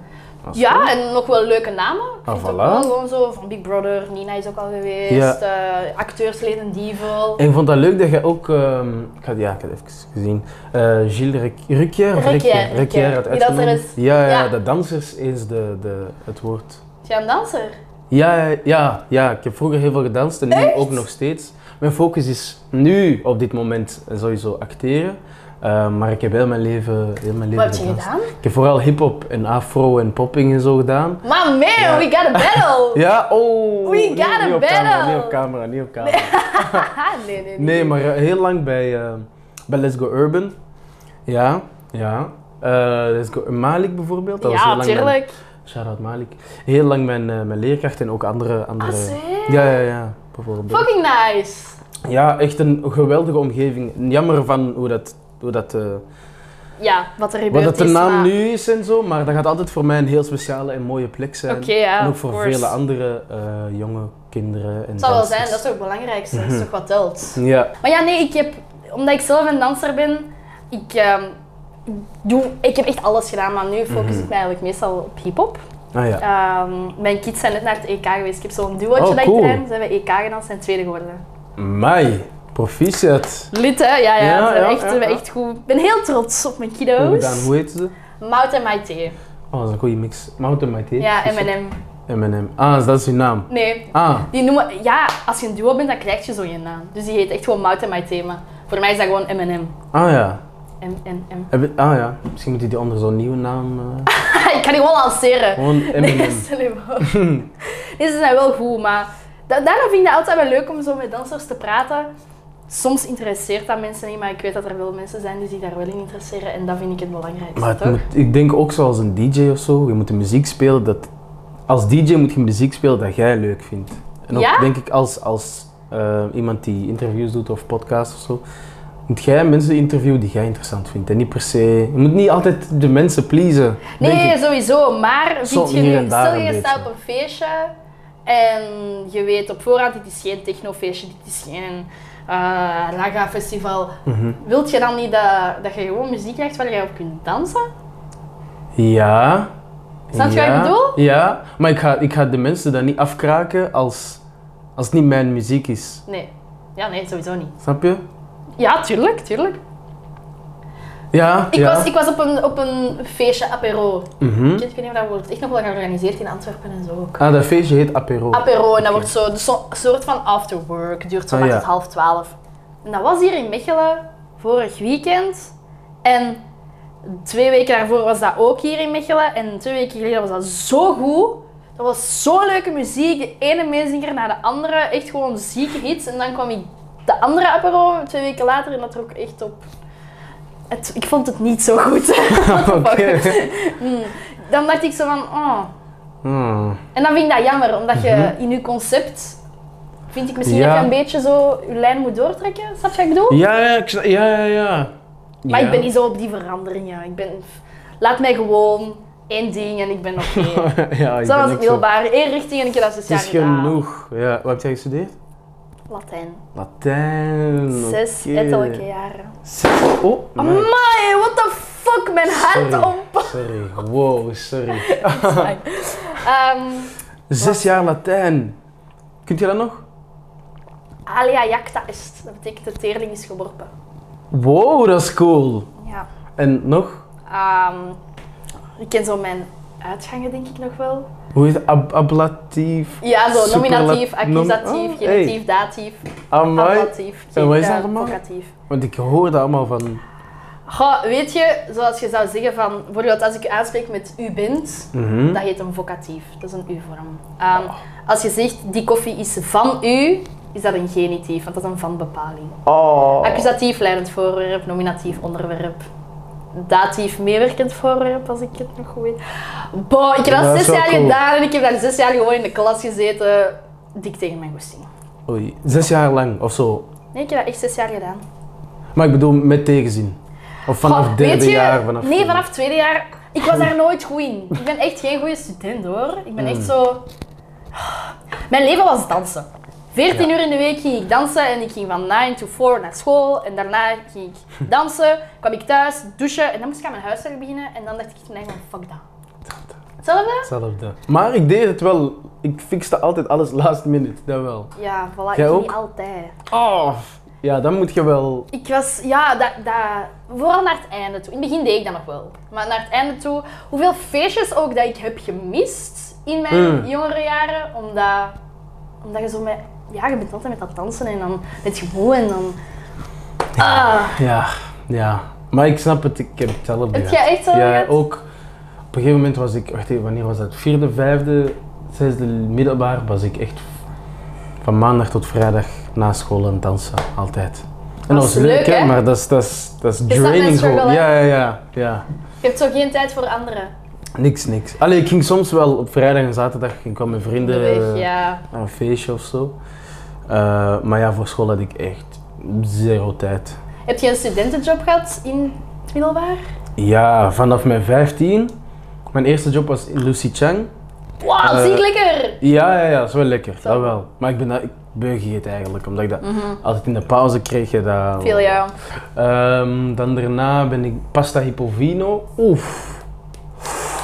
S1: Dat is cool.
S2: ja, en nog wel leuke namen. Ik
S1: Ah,
S2: vind ook
S1: voilà.
S2: wel gewoon zo, van Big Brother, Nina is ook al geweest, eh, acteursleden Dievel.
S1: En ik vond dat leuk dat je ook, ehm, ik had, ja, ik had even gezien, eh Gilles Ruc- Ruquier, of
S2: Ruquier,
S1: Ruquier,
S2: Ruquier.
S1: Ruquier had
S2: Die danser
S1: uitgenodigd.
S2: is-
S1: Ja, ja,
S2: ja.
S1: de dansers is de, de, het woord.
S2: Is jij een danser?
S1: Ja, ja, ja, ja, ik heb vroeger heel veel gedanst en nu ook nog steeds. Mijn focus is nu op dit moment eh, sowieso acteren, eh, maar ik heb heel mijn leven, heel mijn leven
S2: Wat heb je
S1: gedanst.
S2: gedaan?
S1: Ik heb vooral hip-hop en afro en popping en zo gedaan.
S2: Maar man, we got a battle!
S1: Ja, oh.
S2: We
S1: nee,
S2: got a
S1: niet op camera,
S2: battle.
S1: niet op camera, niet op camera.
S2: Haha, nee, nee, nee.
S1: Nee, maar eh, heel lang bij, eh, bij Let's Go Urban. Ja, ja. Eh, Let's Go Malik bijvoorbeeld. Dat was heel
S2: ja,
S1: lang mijn-
S2: tuurlijk.
S1: Shout-out Malik. Heel lang mijn, eh, mijn leerkracht en ook andere... andere...
S2: Ah, zeer?
S1: Eh, ja, ja, ja. Bijvoorbeeld.
S2: Fucking nice.
S1: Ja, echt een geweldige omgeving. Jammer van hoe dat... Hoe dat eh,
S2: Ja, wat er
S1: wat
S2: gebeurd
S1: dat de
S2: is, maar-
S1: naam nu is en zo, maar dat gaat altijd voor mij een heel speciale en mooie plek zijn.
S2: Oké, ja,
S1: en ook
S2: of
S1: voor
S2: Oh, course.
S1: vele andere eh, jonge kinderen. En
S2: Het zal wel zijn, dat is toch het belangrijkste, dat is toch wat telt.
S1: Mhm. Ja,
S2: Maar ja, nee, ik heb, omdat ik zelf een danser ben, ik, ehm, doe, ik heb echt alles gedaan, maar nu focus ik
S1: Mhm.
S2: me eigenlijk meestal op hip-hop.
S1: ah ja.
S2: Ehm, mijn kids zijn net naar het EK geweest. Ik heb zo'n duootje
S1: Oh,
S2: dat
S1: cool.
S2: ik train. Ze hebben EK gedaan, ze zijn tweede geworden.
S1: Mai, proficiat.
S2: Lid, hè? Ja, ja.
S1: Ja,
S2: ze zijn
S1: ja,
S2: echt,
S1: ja,
S2: ze zijn
S1: ja.
S2: echt goed. Ik ben heel trots op mijn
S1: Hoe
S2: kiddo's.
S1: gedaan? Hoe heet ze?
S2: Mout en Maite.
S1: Oh, dat is een goede mix. Mountain Mighty.
S2: Ja, M&M.
S1: M&M. Ah, dat is hun naam.
S2: Nee,
S1: Ah,
S2: die noemen... Ja, als je een duo bent, dan krijg je zo je naam. Dus die heet echt gewoon Mout en Maite. Maar voor mij is dat gewoon M&M.
S1: ah ja.
S2: M&M.
S1: Heb je- ah ja. Misschien moet je die andere zo'n nieuwe naam... eh,
S2: ik kan die gewoon lanceren.
S1: gewoon
S2: Nee,
S1: M&M.
S2: stel je voor. Nee, ze zijn wel goed, maar da daarom vind ik het altijd wel leuk om zo met dansers te praten. Soms interesseert dat mensen niet, maar ik weet dat er wel mensen zijn die zich daar wel in interesseren en dat vind ik het belangrijkste,
S1: Maar het
S2: toch?
S1: moet, ik denk ook zoals een DJ of zo. Je moet de muziek spelen dat. Als DJ moet je muziek spelen dat jij leuk vindt. En ook
S2: Ja?
S1: denk ik als, als eh, iemand die interviews doet of podcasts of zo. Moet jij mensen interviewen die jij interessant vindt. En niet per se. Je moet niet altijd de mensen pleasen. denk
S2: Nee,
S1: ik.
S2: sowieso, maar
S1: Soms
S2: vind je
S1: hier
S2: nu,
S1: en daar
S2: stel
S1: een
S2: je staat op
S1: beetje.
S2: een feestje en je weet op voorhand, dit is geen technofeestje, dit is geen eh raga festival.
S1: Mhm.
S2: Wilt je dan niet dat, dat je gewoon muziek krijgt waar je op kunt dansen?
S1: Ja.
S2: Snap je
S1: ja.
S2: wat ik bedoel?
S1: Ja, maar ik ga, ik ga de mensen dan niet afkraken als, als het niet mijn muziek is.
S2: Nee. Ja, nee, sowieso niet.
S1: Snap je?
S2: Ja, tuurlijk, tuurlijk.
S1: Ja.
S2: Ik,
S1: ja.
S2: was, ik was op een, op een feestje apero.
S1: Mhm.
S2: Ik weet niet of dat wordt echt nog wel georganiseerd in Antwerpen en zo ook.
S1: Ah, dat feestje heet Apero.
S2: Apero, en dat wordt zo, dus zo'n soort van afterwork, duurt zo
S1: Ah,
S2: maar
S1: ja.
S2: tot half twaalf. En dat was hier in Mechelen vorig weekend. En twee weken daarvoor was dat ook hier in Mechelen. En twee weken geleden was dat zo goed. Dat was zo leuke muziek. De ene meezinger na de andere. Echt gewoon zieke hits. En dan kwam ik de andere apero twee weken later en dat trok echt op. Het, ik vond het niet zo goed.
S1: Ah, Oké.
S2: Mm. Dan dacht ik zo van, oh.
S1: Hmm.
S2: En dan vind ik dat jammer, omdat je in je concept, vind ik misschien
S1: Mhm. Ja.
S2: dat je een beetje zo je lijn moet doortrekken. Snap je wat ik bedoel?
S1: Ja, ja, ik sna- ja, ja, ja.
S2: Maar
S1: Ja.
S2: ik ben niet zo op die veranderingen. Ik ben, laat mij gewoon één ding en ik ben oké.
S1: ja, ik
S2: zo
S1: ben
S2: was
S1: ook
S2: het middelbaar. Eén richting en ik heb dat zes
S1: Het is
S2: jaar gedaan.
S1: genoeg. Ja, wat heb jij gestudeerd?
S2: Latijn.
S1: Latijn.
S2: Zes
S1: oké.
S2: etterlijke jaren.
S1: Zes. Oh, my.
S2: Amai, what the fuck, mijn hart
S1: Sorry.
S2: om.
S1: Sorry, wow, sorry.
S2: Ehm
S1: Zes jaar Latijn. Kunt je dat nog?
S2: alia jacta est. Dat betekent de teerling is geworpen.
S1: Wow, dat is cool.
S2: Ja.
S1: En nog?
S2: Ehm, ik ken zo mijn uitgangen, denk ik nog wel.
S1: Hoe heet het? Ab- ablatief?
S2: Ja, zo
S1: Superla-
S2: nominatief,
S1: nom-
S2: accusatief,
S1: Oh, hey.
S2: genitief, datief,
S1: Amai.
S2: ablatief,
S1: En wat is dat
S2: eh,
S1: allemaal?
S2: vocatief.
S1: Want ik hoor dat allemaal van...
S2: Goh, weet je, zoals je zou zeggen van, bijvoorbeeld als ik u aanspreek met u bent,
S1: Mhm. Ah.
S2: dat heet een vocatief, dat is een u-vorm. Ehm, Als je zegt, die koffie is van u, is dat een genitief, want dat is een van-bepaling.
S1: Oh.
S2: Accusatief, leidend voorwerp, nominatief, onderwerp. Datief, meewerkend voorwerp, als ik het nog goed weet. Boah, ik heb
S1: Ja,
S2: dat
S1: dat is
S2: zes
S1: wel
S2: jaar
S1: cool.
S2: gedaan en ik heb daar zes jaar gewoon in de klas gezeten, dik tegen mijn goesting.
S1: Oei, zes jaar lang of zo.
S2: Nee, ik heb dat echt zes jaar gedaan.
S1: Maar ik bedoel, met tegenzin. Of vanaf
S2: Goh, weet
S1: derde
S2: je,
S1: jaar? Vanaf
S2: nee, vanaf tweede jaar. Ik was daar nooit goed in. Ik ben echt geen goede student hoor. Ik ben
S1: Mm.
S2: echt zo. Mijn leven was dansen. 14 uur in de week ging ik dansen en ik ging van 9 to 4 naar school. En daarna ging ik dansen, kwam ik thuis, douchen en dan moest ik aan mijn huiswerk beginnen. En dan dacht ik nee, van fuck dat. Hetzelfde?
S1: Hetzelfde. Maar ik deed het wel. Ik fixte altijd alles last minute, dat wel.
S2: Ja, voilà, ik
S1: Jij
S2: ging
S1: ook?
S2: niet altijd.
S1: Oh. Ja, dan moet je wel...
S2: Ik was, ja, dat, dat, vooral naar het einde toe. In het begin deed ik dat nog wel. Maar naar het einde toe, hoeveel feestjes ook dat ik heb gemist in mijn
S1: Mm.
S2: jongere jaren, omdat, omdat je zo met, ja, je bent altijd met dat dansen en dan met je moe en dan... Ah,
S1: Ja, ja. Maar ik snap het, ik heb hetzelfde.
S2: Heb
S1: ja.
S2: jij echt zo
S1: Ja,
S2: gehad?
S1: ook. Op een gegeven moment was ik, wacht even, wanneer was dat? Vierde, vijfde, zesde middelbaar was ik echt van maandag tot vrijdag na school aan het dansen, altijd. En dat
S2: Dat
S1: was
S2: is
S1: leuk,
S2: leuk,
S1: hè,
S2: hè?
S1: maar dat is, dat is, dat is
S2: dat mijn
S1: draining gewoon.
S2: struggle,
S1: Ja,
S2: hè?
S1: ja, ja, ja.
S2: je hebt zo geen tijd voor anderen.
S1: Niks, niks. Allee, ik ging soms wel op vrijdag en zaterdag, ik kwam met vrienden
S2: Onderweg,
S1: eh,
S2: ja.
S1: naar een feestje of zo. Eh, maar ja, voor school had ik echt zero tijd.
S2: Heb je een studentenjob gehad in het middelbaar?
S1: Ja, vanaf mijn 15. Mijn eerste job was in Lucy Chang.
S2: Wauw,
S1: Eh,
S2: ziek lekker!
S1: Ja, ja, ja, dat is wel lekker.
S2: Zo.
S1: Dat wel. Maar ik ben dat, ik beug het eigenlijk, omdat ik dat
S2: Mhm.
S1: altijd in de pauze kreeg. Je dat,
S2: Veel ja.
S1: Ehm, dan daarna ben ik pasta hippovino. Oef.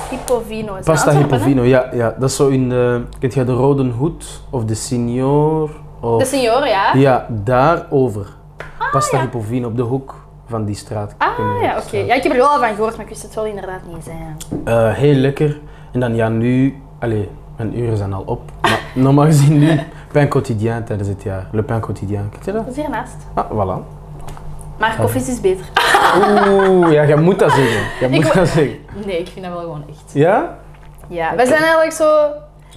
S2: Hippovino. is
S1: Pasta
S2: dat Antwerpen, hè?
S1: hippovino, ja, ja. Dat is zo in de... Kent jij de Rode Hoed of de Signor? Of,
S2: De senioren, ja?
S1: Ja, daarover. pasta hippovino op de hoek van die straat. Ik ken
S2: Ah
S1: niet
S2: ja,
S1: de
S2: oké.
S1: straat.
S2: Ja, ik heb er wel al van gehoord, maar ik wist het wel inderdaad niet zijn.
S1: Eh, heel lekker. En dan ja, nu... Allee, mijn uren zijn al op. Maar normaal gezien nu pain quotidien tijdens het jaar. Le pain quotidien. Kent je dat?
S2: Dat is hiernaast.
S1: Ah, voilà. Ah.
S2: Maar koffie is beter.
S1: Oeh, ja, jij moet dat zeggen. Jij moet
S2: Ik-
S1: dat zeggen.
S2: Nee, ik vind dat wel gewoon echt.
S1: Ja?
S2: Ja, wij zijn eigenlijk zo.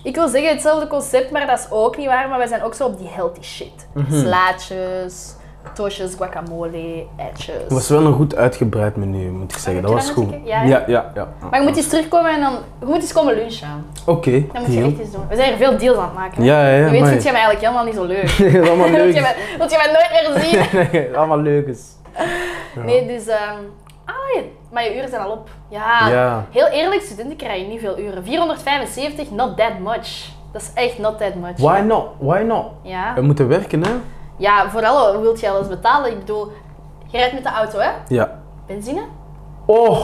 S2: Ik wil zeggen hetzelfde concept, maar dat is ook niet waar. Maar wij zijn ook zo op die healthy shit.
S1: Mhm.
S2: Slaatjes, toosjes, guacamole, eitjes.
S1: Het was wel een goed uitgebreid menu, moet ik zeggen.
S2: heb
S1: Dat
S2: je
S1: was
S2: dat
S1: goed.
S2: moeten
S1: Ja,
S2: kijken? Ja,
S1: ja, ja.
S2: Maar je moet eens terugkomen en dan. Je moet eens komen lunchen.
S1: Oké,
S2: Dan moet je
S1: deal.
S2: echt eens doen. We zijn er veel deals aan het maken. hè?
S1: Ja, ja, ja.
S2: Je weet,
S1: maar-
S2: vind jij mij eigenlijk helemaal niet zo leuk.
S1: Nee, dat is allemaal
S2: Want je
S1: leuk.
S2: mij, wilt je mij nooit meer zien.
S1: Nee, allemaal leuk is. Ja.
S2: Nee, dus... ehm, ah, je- maar je uren zijn al op. Ja.
S1: Ja.
S2: Heel eerlijk, studenten krijgen niet veel uren. 475, not that much. Dat is echt not that much.
S1: Why not? Ehm. Why not?
S2: Ja.
S1: We moeten werken, hè?
S2: ja, vooral eh, wilt je alles betalen. Ik bedoel, je rijdt met de auto, hè?
S1: Ja.
S2: Benzine?
S1: Oh,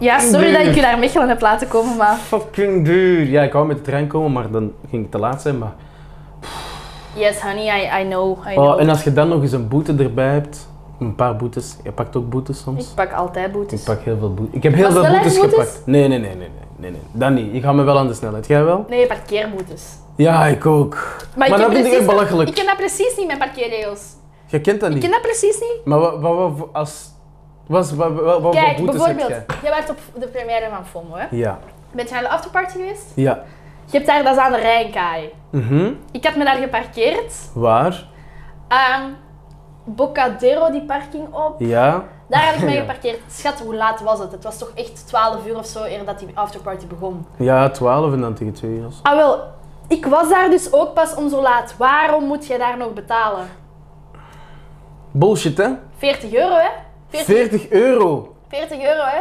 S2: Ja, sorry
S1: Nee.
S2: dat ik je naar Mechelen heb laten komen, maar...
S1: fucking duur. Ja, ik wou met de trein komen, maar dan ging ik te laat zijn. Maar...
S2: Yes, honey, I, I know, I know.
S1: Oh, en als je dan nog eens een boete erbij hebt, een paar boetes. Je pakt ook boetes soms.
S2: Ik pak altijd boetes.
S1: Ik pak heel veel boetes. Ik heb heel
S2: Maar
S1: veel boetes
S2: snelheidsboetes?
S1: gepakt. Nee, nee, nee, nee, nee, nee, nee. Dat niet. Ik ga me wel aan de snelheid. Jij wel?
S2: Nee, parkeerboetes.
S1: Ja, ik ook. Maar,
S2: ken
S1: dat vind ik echt
S2: precies-
S1: belachelijk.
S2: Ik ken dat precies niet, mijn parkeerregels.
S1: Je kent dat
S2: Ik
S1: niet.
S2: ken dat precies niet.
S1: Maar wat, wat, wat als. Was, wat, wat, wat, wat
S2: Kijk,
S1: voor boetes
S2: bijvoorbeeld,
S1: heb
S2: jij werd op de première van FOMO, hè?
S1: jij? Ja.
S2: Bent je naar de afterparty geweest?
S1: Ja.
S2: Je hebt daar, dat is aan de Rijnkaai.
S1: Mhm.
S2: Ik had me daar geparkeerd.
S1: Waar?
S2: Ehm Bocadero, die parking op.
S1: Ja.
S2: Daar had ik me
S1: Ja.
S2: geparkeerd. Schat, hoe laat was het? Het was toch echt 12 uur of zo eer dat die afterparty begon.
S1: Ja, 12 en dan tegen 2 uur.
S2: Ah wel, ik was daar dus ook pas om zo laat. Waarom moet jij daar nog betalen?
S1: Bullshit, hè?
S2: 40 euro, hè? 40,
S1: 40 euro.
S2: 40 euro, hè?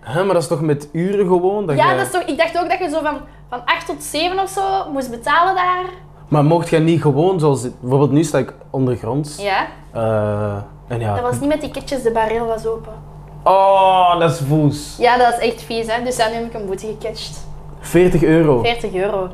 S1: Hè, maar dat is toch met uren gewoon? Dat
S2: Ja,
S1: jij-
S2: dat is toch, ik dacht ook dat je zo van, van 8 tot 7 of zo moest betalen daar.
S1: Maar mocht jij niet gewoon zoals. Bijvoorbeeld, nu sta ik ondergronds.
S2: Ja,
S1: Eh, en ja.
S2: dat was niet met ticketjes, de barrel was open.
S1: Oh, dat is voes.
S2: Ja, dat is echt vies, hè? Dus dan heb ik een boete gecatcht.
S1: 40 euro.
S2: 40 euro.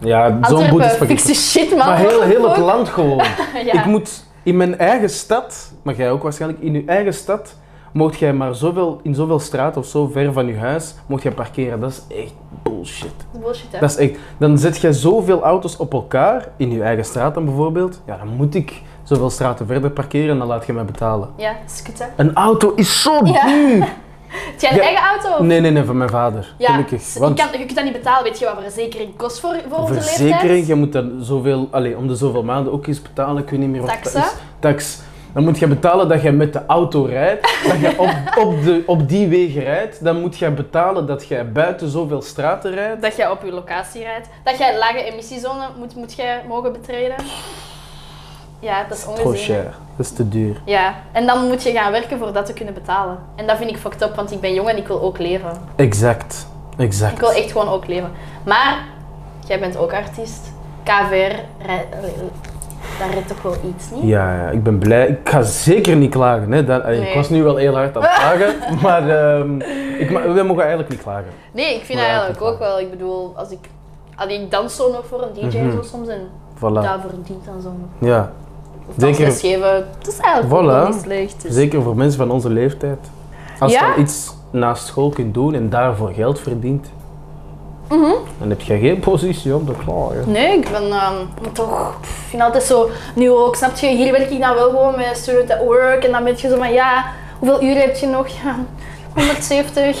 S1: Ja, zo'n boete is
S2: Antwerpen,
S1: fucking-
S2: fikse shit, man.
S1: Maar heel, heel het
S2: Fuck.
S1: land gewoon.
S2: Ja.
S1: Ik moet in mijn eigen stad, maar jij ook waarschijnlijk, in je eigen stad, mocht jij maar zoveel, in zoveel straat of zo ver van je huis, mocht jij parkeren. Dat is echt bullshit.
S2: Dat is bullshit, hè?
S1: Dat is echt, dan zet jij zoveel auto's op elkaar, in je eigen straat dan bijvoorbeeld. Ja, dan moet ik zoveel straten verder parkeren en dan laat je mij betalen.
S2: Ja, dat is kut, hè?
S1: Een auto is zo
S2: Ja.
S1: duur!
S2: Heb jij een
S1: Ja.
S2: eigen auto?
S1: Nee, nee, nee, van mijn vader.
S2: Ja,
S1: Gelukkig.
S2: s-
S1: Want
S2: je, kan, je kunt dat niet betalen. Weet je wat verzekering kost voor, voor onze
S1: verzekering,
S2: leeftijd?
S1: je moet dan zoveel, allee, om de zoveel maanden ook eens betalen, ik weet niet meer wat
S2: Taxen?
S1: dat is. Tax. Dan moet je betalen dat je met de auto rijdt, dat je op, op, de, op die wegen rijdt. Dan moet je betalen dat je buiten zoveel straten rijdt.
S2: Dat jij op je locatie rijdt. Dat jij lage emissiezone moet, moet jij mogen betreden. Ja, dat is
S1: Trop
S2: ongezien. hè.
S1: cher, dat is te duur.
S2: Ja, en dan moet je gaan werken voor dat te kunnen betalen. En dat vind ik fucked up, want ik ben jong en ik wil ook leven.
S1: Exact, exact.
S2: Ik wil echt gewoon ook leven. Maar, jij bent ook artiest. KVR, rij- daar redt toch wel iets, niet?
S1: Ja, ja, ik ben blij. Ik ga zeker niet klagen. Hè. Dat, allee,
S2: Nee.
S1: Ik was nu wel heel hard aan het klagen, maar ehm, ik, ma- we mogen eigenlijk niet klagen.
S2: Nee, ik vind
S1: Maar
S2: dat
S1: ja,
S2: eigenlijk
S1: ik vind
S2: ook wel. Ik bedoel, als ik, als ik dans zo nog voor een DJ
S1: Mhm.
S2: zo soms en
S1: Voilà.
S2: daar verdient dan zo'n
S1: Ja, Zeker.
S2: dansles geven. Dat is eigenlijk
S1: Voilà.
S2: ook niet slecht. Dus.
S1: Zeker voor mensen van onze leeftijd. Als
S2: Ja?
S1: je al iets naast school kunt doen en daarvoor geld verdient,
S2: Mhm.
S1: dan heb je geen positie om te klagen.
S2: Nee, ik ben ehm, maar toch, ik vind altijd zo, nu ook, snap je, hier werk ik dan wel gewoon met student at work en dan ben je zo van, ja, hoeveel uren heb je nog? Ja, 170.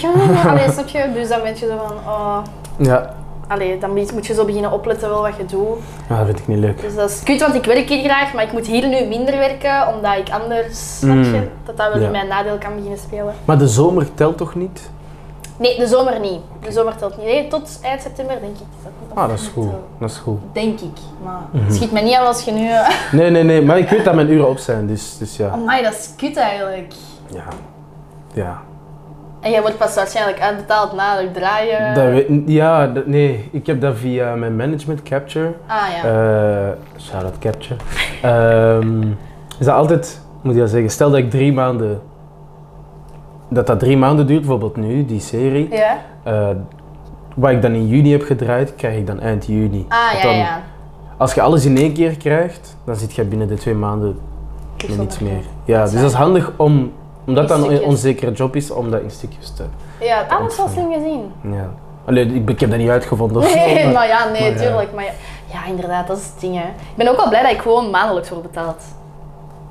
S2: Ja, allee, snap je? Dus dan ben je zo van, oh,
S1: Ja,
S2: allee, dan moet je zo beginnen opletten wel wat je doet.
S1: Ah, dat vind ik niet leuk.
S2: Dus dat is kut, want ik werk hier graag, maar ik moet hier nu minder werken, omdat ik anders, snap je,
S1: Mm.
S2: dat dat wel
S1: Ja.
S2: in mijn nadeel kan beginnen spelen.
S1: Maar de zomer telt toch niet?
S2: Nee, de zomer niet. De zomer telt niet. Nee, tot eind september denk ik. Dat moet
S1: Ah, dat is
S2: nog
S1: goed. Mhm.
S2: tellen.
S1: Dat is goed.
S2: Denk ik. Maar schiet me niet aan als je nu... eh,
S1: Nee, nee, nee, maar ik weet dat mijn uren op zijn, dus, dus ja.
S2: Amai, dat is kut eigenlijk.
S1: Ja. Ja.
S2: En jij wordt pas waarschijnlijk uitbetaald na het draaien.
S1: Dat weet, ja, dat- nee, ik heb dat via mijn management Capture.
S2: Ah ja.
S1: eh shout out Capture. Ehm, is dat altijd, moet je dat zeggen, stel dat ik drie maanden. Dat dat drie maanden duurt, bijvoorbeeld nu, die serie.
S2: ja?
S1: eh, wat ik dan in juni heb gedraaid, krijg ik dan eind juni.
S2: Ah
S1: Want
S2: ja,
S1: dan-
S2: ja.
S1: Als je alles in één keer krijgt, dan zit je binnen de twee maanden
S2: Ik
S1: met
S2: zal
S1: niets
S2: maar-
S1: meer. Ja, dus dat is handig om, omdat
S2: In
S1: dat een
S2: stukjes.
S1: onzekere job is, om dat in stukjes te.
S2: Ja, ah, dat is wel slim gezien.
S1: Ja. Allee, ik, ik heb dat niet uitgevonden. of zo,
S2: Nee,
S1: maar-
S2: maar ja, nee,
S1: maar ja.
S2: tuurlijk. Maar ja, ja, inderdaad, dat is het ding. Hè. Ik ben ook wel blij dat ik gewoon maandelijks word betaald.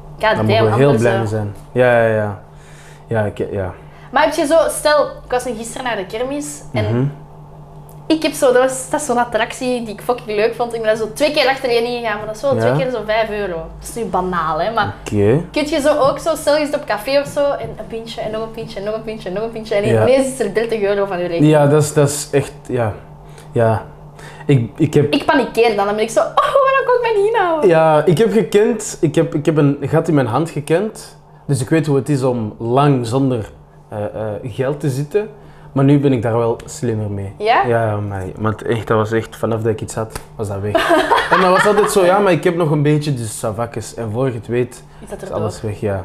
S2: God
S1: Daar
S2: damn,
S1: mogen we heel
S2: anders,
S1: blij
S2: eh.
S1: mee zijn. Ja, ja, ja. Ja, ik, ja.
S2: Maar heb je zo, stel, ik was nu gisteren naar de kermis en
S1: Mhm.
S2: ik heb zo, dat, was, dat is zo'n attractie die ik fucking leuk vond. Ik ben daar zo twee keer achtereen ingegaan, maar dat is wel
S1: Ja? Mhm.
S2: twee keer zo'n 5 euro. Dat is nu banaal, hè, maar
S1: Oké.
S2: kun je zo ook zo, stel je zit op café of zo en een pintje en nog een pintje en nog een pintje en nog een pintje en
S1: Ja.
S2: ineens is er 30 euro van je rekening.
S1: Ja, dat is, dat is echt, ja. Ja. Ik, ik heb...
S2: Ik panikeer dan, dan ben ik zo, oh, waarom kon ik mij niet inhouden?
S1: Ja, ik heb gekend, ik heb, ik heb een gat in mijn hand gekend. Dus ik weet hoe het is om lang zonder eh, eh, geld te zitten. Maar nu ben ik daar wel slimmer mee.
S2: Ja?
S1: Ja, maar, maar het echt, dat was echt, vanaf dat ik iets had, was dat weg. en dat was altijd zo, ja, maar ik heb nog een beetje, dus savakkes. En voor je het weet,
S2: Is dat
S1: is
S2: er
S1: alles weg, ja.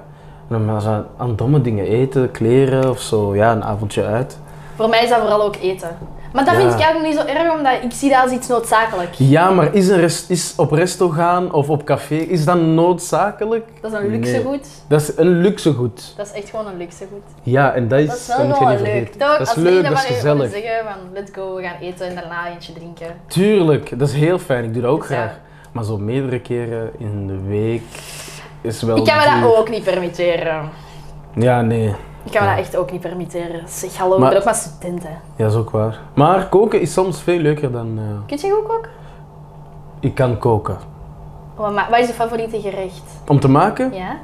S1: En dan was dat aan domme dingen eten, kleren of zo, ja, een avondje uit.
S2: Voor mij is dat vooral ook eten. Maar dat
S1: Ja.
S2: vind ik eigenlijk niet zo erg, omdat ik zie dat als iets noodzakelijk.
S1: Ja, maar is, een rest, is op resto gaan of op café, is dat noodzakelijk?
S2: Dat is een luxegoed.
S1: Dat is een luxegoed.
S2: Dat is echt gewoon een luxegoed.
S1: Ja, en dat is,
S2: Dat is wel
S1: dat moet je
S2: gewoon
S1: niet
S2: leuk.
S1: vergeten.
S2: Toch?
S1: Dat is
S2: als
S1: leuk,
S2: vrienden
S1: dat is
S2: van u gewoon
S1: gezellig.
S2: zeggen van let's go, we gaan eten en daarna eentje drinken.
S1: Tuurlijk, dat is heel fijn. Ik doe dat ook
S2: Dus ja.
S1: graag. Maar zo meerdere keren in de week is wel
S2: Ik kan me
S1: duur.
S2: dat ook niet permitteren.
S1: Ja, nee.
S2: Ik kan me
S1: Ja.
S2: dat echt ook niet permitteren. Zeg hallo,
S1: Maar-
S2: ik ben ook maar student hè.
S1: Ja, is ook waar. Maar koken is soms veel leuker dan... eh,
S2: Kun je goed koken?
S1: ik kan koken.
S2: Wat, ma- wat is je favoriete gerecht?
S1: Om te maken?
S2: Ja?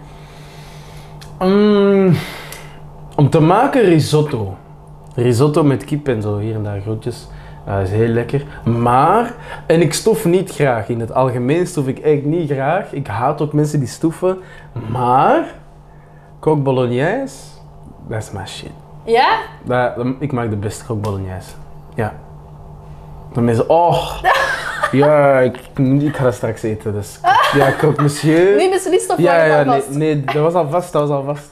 S1: Mm, om te maken risotto. Risotto met kip en zo, hier en daar groentjes. Dat is heel lekker. Maar, en ik stof niet graag. In het algemeen stof ik echt niet graag. Ik haat ook mensen die stoeven. Maar, kok bolognese, dat is mijn shit.
S2: Ja?
S1: Dat, dat- ik maak de beste kok bolognese. Ja. De mensen, oh. Ja, ik, ik ga dat straks eten. Dus, ja, kok monsieur.
S2: Nu beslist of
S1: Ja,
S2: waar
S1: ja,
S2: het
S1: nee,
S2: alvast.
S1: nee, dat was al vast, dat was al vast.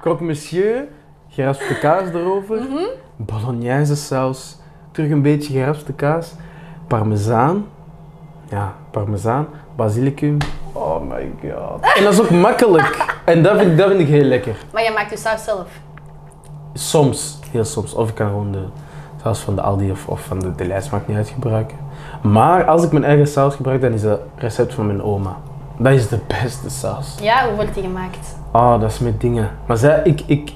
S1: Croque monsieur, geraspte kaas erover, bolognese saus, terug een beetje geraspte kaas, parmezaan, ja, parmezaan, basilicum. Oh my god. En dat is ook makkelijk. En dat vind, ik- dat vind ik heel lekker.
S2: Maar jij maakt je saus zelf.
S1: Soms, heel soms. Of ik kan gewoon de saus van de Aldi of, of van de Delijs, maakt niet uit, gebruiken. Maar als ik mijn eigen saus gebruik, dan is dat recept van mijn oma. Dat is de beste saus.
S2: Ja, hoe wordt die gemaakt?
S1: Ah, dat is met dingen. Maar zij, ik, ik,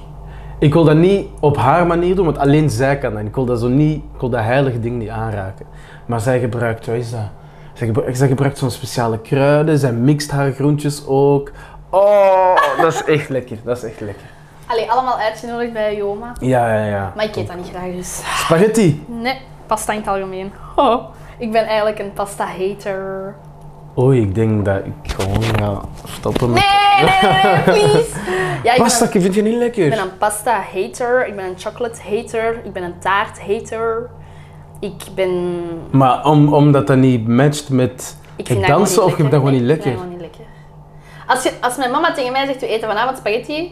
S1: ik wil dat niet op haar manier doen, want alleen zij kan dat. Ik wil dat zo niet, ik wil dat heilige ding niet aanraken. Maar zij gebruikt, wat is dat? Zij gebruikt, zij gebruikt zo'n speciale kruiden, zij mixt haar groentjes ook. Oh, dat is echt lekker, dat is echt lekker.
S2: Allee, allemaal uitgenodigd bij je oma.
S1: Ja, ja, ja.
S2: Maar ik eet dat niet graag dus.
S1: Spaghetti.
S2: Nee, pasta in het algemeen. Oh, ik ben eigenlijk een pasta-hater.
S1: Oei, ik denk dat ik gewoon ga stoppen met...
S2: Nee, nee, nee, nee, please. Ja, ik
S1: Pasta,
S2: ben,
S1: ik vind je niet lekker.
S2: een, ik ben een pasta-hater, ik ben een chocolate-hater, ik ben een taart-hater. Ik ben...
S1: Maar om, omdat dat niet matcht met
S2: Ik
S1: het
S2: vind
S1: dansen, of je vindt
S2: dat
S1: dat gewoon
S2: Nee,
S1: niet
S2: ik vind
S1: lekker?
S2: dat gewoon niet lekker. Als, je, als mijn mama tegen mij zegt, we eten vanavond spaghetti.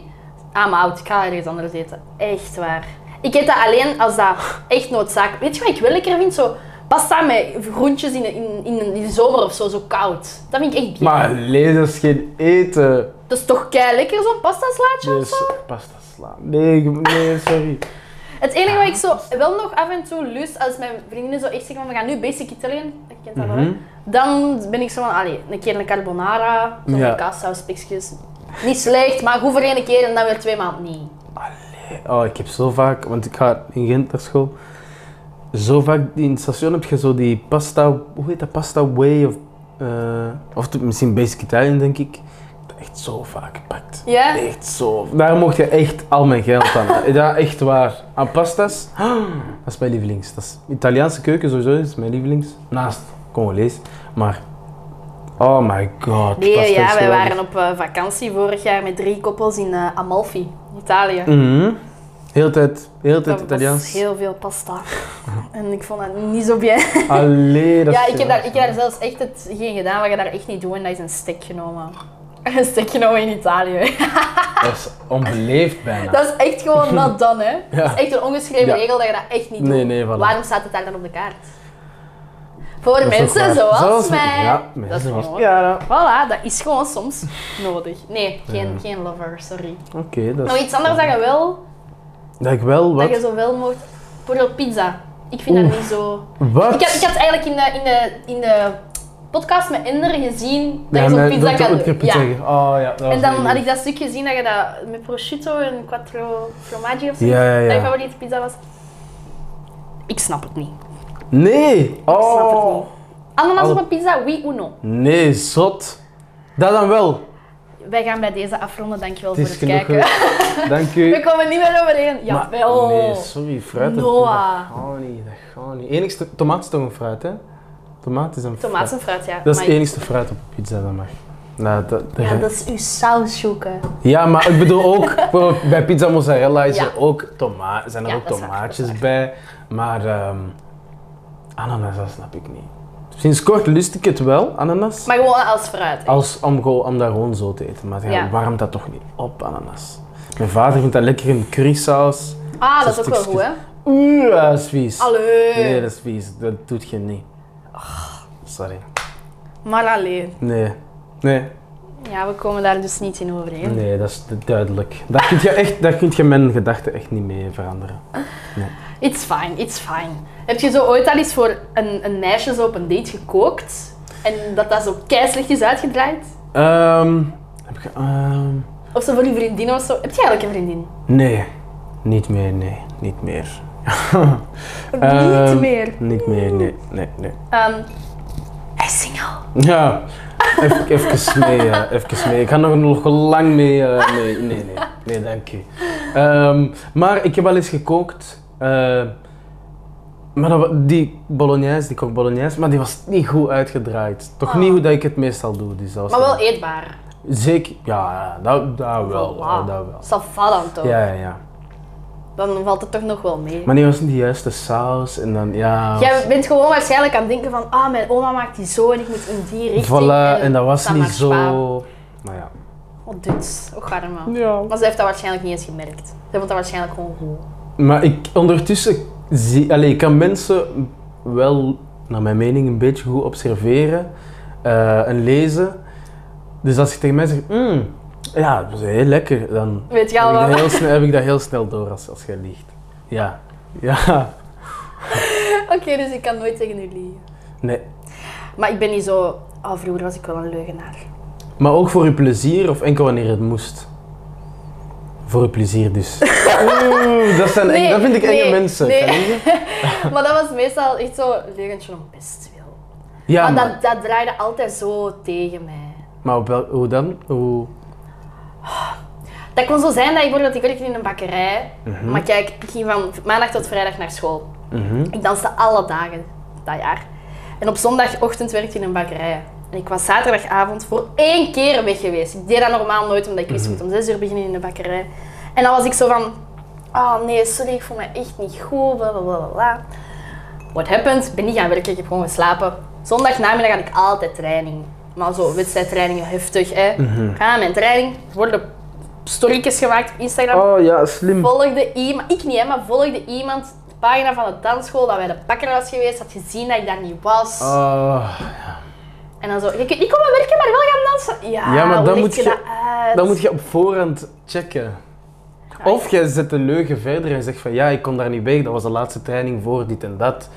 S2: Ah, maar oud, ik ga ergens anders eten. Echt waar. Ik eet dat alleen als dat echt noodzaak... Weet je wat ik wel lekker vind? Zo pasta met groentjes in, in, in, in de zomer of zo, zo koud. Dat vind ik echt bier.
S1: Maar lees dat is geen eten.
S2: Dat is toch kei lekker, zo'n pasta slaatje of zo?
S1: Dus pasta sla. Nee, ik- nee, sorry.
S2: Het enige wat ik zo wel nog af en toe lust, als mijn vriendinnen zo echt zeggen van we gaan nu basic Italian, ik ken dat wel, hè.
S1: Mhm.
S2: dan ben ik zo van, allee, een keer een carbonara, zo'n
S1: Ja.
S2: kaassaus, pikjes. Niet slecht, maar goed voor één keer en dan weer twee maanden niet.
S1: Oh, ik heb zo vaak, want ik ga in Gent naar school. Zo vaak die in het station heb je zo die pasta, hoe heet dat, pasta way of, eh, of de- misschien basic Italian denk ik. Dat echt zo vaak gepakt.
S2: Ja?
S1: Echt zo. Daar mocht je echt al mijn geld aan. Ja, echt waar. Aan pastas, dat is mijn lievelings. Dat is, Italiaanse keuken sowieso is mijn lievelings. Naast Congolees. Maar, oh my god. pasta
S2: Nee,
S1: is
S2: ja, wij
S1: geweldig.
S2: waren op eh, vakantie vorig jaar met drie koppels in eh, Amalfi, Italië.
S1: Mhm. Heel tijd, heel tijd
S2: Dat was
S1: Italiaans.
S2: heel veel pasta. En ik vond dat niet zo bien.
S1: Allee, dat
S2: Ja,
S1: is
S2: ik heb, daar, ik heb daar
S1: geweldig.
S2: zelfs echt het, geen gedaan wat je daar echt niet doet en dat is een stek genomen. Een stek genomen in Italië.
S1: Dat is onbeleefd bijna.
S2: Dat is echt gewoon not done, hè. Dat is echt een ongeschreven
S1: Ja.
S2: regel dat je dat echt niet doet.
S1: Nee, nee, voilà.
S2: Waarom staat het daar dan op de kaart? Voor
S1: Dat is
S2: mensen
S1: ook waar.
S2: zoals, mij.
S1: Ja,
S2: dat is
S1: mensen
S2: gewoon...
S1: zoals Ja,
S2: Voilà, dat is gewoon soms nodig. Nee, geen, geen lover, sorry.
S1: oké. dat is-
S2: Nou, iets anders dat je wel,
S1: Dat ik wel
S2: dat je
S1: wat...
S2: zo wel mocht... Bijvoorbeeld pizza. Ik vind dat niet zo...
S1: Wat?
S2: Oh, Ik had, ik had eigenlijk in de, in, de, in de podcast met Ender gezien dat
S1: Ja,
S2: je zo'n
S1: mijn
S2: pizza
S1: dokter
S2: kan
S1: Oetker
S2: ja.
S1: pizza gegeven. Oh ja, dat was
S2: En dan
S1: mijn
S2: had ik dat stuk gezien dat je dat met prosciutto en quattro formaggi of zo,
S1: Ja, ja, ja.
S2: dat je favoriete pizza was. Ik snap het niet.
S1: Nee!
S2: Ik snap het
S1: Oh!
S2: niet. Ananas
S1: Al-
S2: op een pizza, oui ou non?
S1: Nee, zot. Dat dan wel.
S2: Wij gaan bij deze afronden, dankjewel
S1: Het is
S2: voor het
S1: genoeg.
S2: kijken.
S1: geweest. Dank
S2: We
S1: u.
S2: komen niet meer overeen.
S1: Maar-
S2: Jawel.
S1: Nee, sorry, fruit. dat-
S2: Noah.
S1: Dat gaat niet, dat gaat niet. Enigste, tomaat is toch een fruit, hè? Tomaat is een fruit.
S2: Tomaat en fruit, ja.
S1: Dat is
S2: Maar-
S1: het enigste fruit op pizza dat mag. Nou, dat, dat-
S2: Ja, dat is uw saus zoeken.
S1: Ja, maar ik bedoel ook, bijvoorbeeld bij pizza mozzarella is
S2: Ja.
S1: er ook toma zijn er
S2: Ja,
S1: ook
S2: dat is waar,
S1: tomaatjes bij. Maar ehm, ananas, dat snap ik niet. Sinds kort lust ik het wel, ananas.
S2: Maar gewoon als fruit.
S1: Als om, gewoon- om daar gewoon zo te eten. Maar ja,
S2: Ja.
S1: warmt dat toch niet op, ananas? Mijn vader vindt dat lekker in currysaus.
S2: Ah, dat is
S1: dat
S2: ook
S1: is
S2: wel goed, hè?
S1: Oeh, dat is vies.
S2: Allee.
S1: Nee, dat is vies. Dat doet je niet.
S2: Ah.
S1: Sorry.
S2: Maar alleen.
S1: Nee. Nee,
S2: Ja, we komen daar dus niet in overeen.
S1: nee, dat is duidelijk. Daar kun je, echt, daar kun je mijn gedachten echt niet mee veranderen.
S2: It's fine, it's fine. Heb je zo ooit al eens voor een, een meisje zo op een date gekookt? En dat dat zo keislicht is uitgedraaid?
S1: Ehm heb ik, ehm,
S2: Of zo voor je vriendin of zo? Heb jij eigenlijk een vriendin?
S1: nee, niet meer, nee, niet meer.
S2: niet
S1: Ehm,
S2: meer.
S1: Niet meer, nee, nee, nee.
S2: Ehm hij is single.
S1: Ja, even, even mee, eh, even mee. Ik ga nog, nog lang mee, eh, mee. Nee, nee, nee, dank u. Ehm, maar ik heb wel eens gekookt. eh, maar dat, wa- die bolognese, die kook bolognese, maar die was niet goed uitgedraaid. Toch niet hoe dat ik het meestal doe. Dus dat was
S2: Oh. Maar wel Oh,
S1: dan-
S2: eetbaar.
S1: Zeker, ja, ja, dat, dat wel.
S2: Voilà.
S1: Dat wel.
S2: Ça va dan toch?
S1: Ja, ja, ja.
S2: Dan valt het toch nog wel mee.
S1: Maar nee, was niet de juiste saus en dan ja.
S2: Jij bent gewoon waarschijnlijk aan het denken van ah, mijn oma maakt die zo en ik moet in die richting.
S1: voilà, en dat was niet
S2: marche pas.
S1: zo. Maar ja.
S2: Wat doet? Ook warm
S1: ja.
S2: Maar ze heeft dat waarschijnlijk niet eens gemerkt. Ze vond dat waarschijnlijk gewoon goed.
S1: Maar ik ondertussen zie, allee, ik kan mensen wel, naar mijn mening, een beetje goed observeren eh, en lezen. Dus als je tegen mij zegt, "Mm, ja, dat is heel lekker, dan
S2: Weet je
S1: heb ik,
S2: al
S1: dat
S2: wel.
S1: heel snel, heb ik dat heel snel door als, als jij liegt. Ja. Ja.
S2: Oké, dus ik kan nooit tegen u liegen.
S1: Nee.
S2: Maar ik ben niet zo... Oh, vroeger was ik wel een leugenaar.
S1: Maar ook voor je plezier of enkel wanneer het moest? Voor je plezier dus. Oeh, dat, zijn eng-
S2: Nee,
S1: dat vind ik enge
S2: nee,
S1: mensen.
S2: nee.
S1: kan je niet?
S2: maar dat was meestal echt zo leugentje om best wil.
S1: Ja,
S2: Want
S1: maar,
S2: dat, dat draaide altijd zo tegen mij.
S1: maar op wel, hoe dan? Hoe?
S2: Dat kon zo zijn dat ik bijvoorbeeld, ik werkte in een bakkerij. Maar kijk, ik ging van maandag tot vrijdag naar school.
S1: Mhm.
S2: Ik danste alle dagen dat jaar. En op zondagochtend werkte ik in een bakkerij. En ik was zaterdagavond voor één keer weg geweest. Ik deed dat normaal nooit, omdat ik wist, ik
S1: Mhm.
S2: moet om zes uur beginnen in de bakkerij. En dan was ik zo van, oh nee, sorry, ik voel me echt niet goed, bla bla bla bla, bla. What happened? Ik ben niet gaan werken, ik heb gewoon geslapen. Zondag namiddag had ik altijd training. Maar zo wedstrijdtrainingen, heftig hè.
S1: Mhm.
S2: Ik Ga naar mijn training, er worden storytjes gemaakt op Instagram
S1: Oh ja, slim.
S2: volgde iemand, ik niet hè, maar volgde iemand de pagina van de dansschool dat bij de bakker was geweest, had gezien dat ik daar niet was.
S1: Ah,
S2: En dan zo, je kunt niet komen werken, maar wel gaan dansen. Ja,
S1: Ja, maar
S2: hoe
S1: dan
S2: leg
S1: moet
S2: je
S1: je-
S2: dat uit?
S1: dan moet je op voorhand checken.
S2: Ah,
S1: Of jij zet de leugen verder en zegt van ja, ik kon daar niet bij, dat was de laatste training voor dit en dat.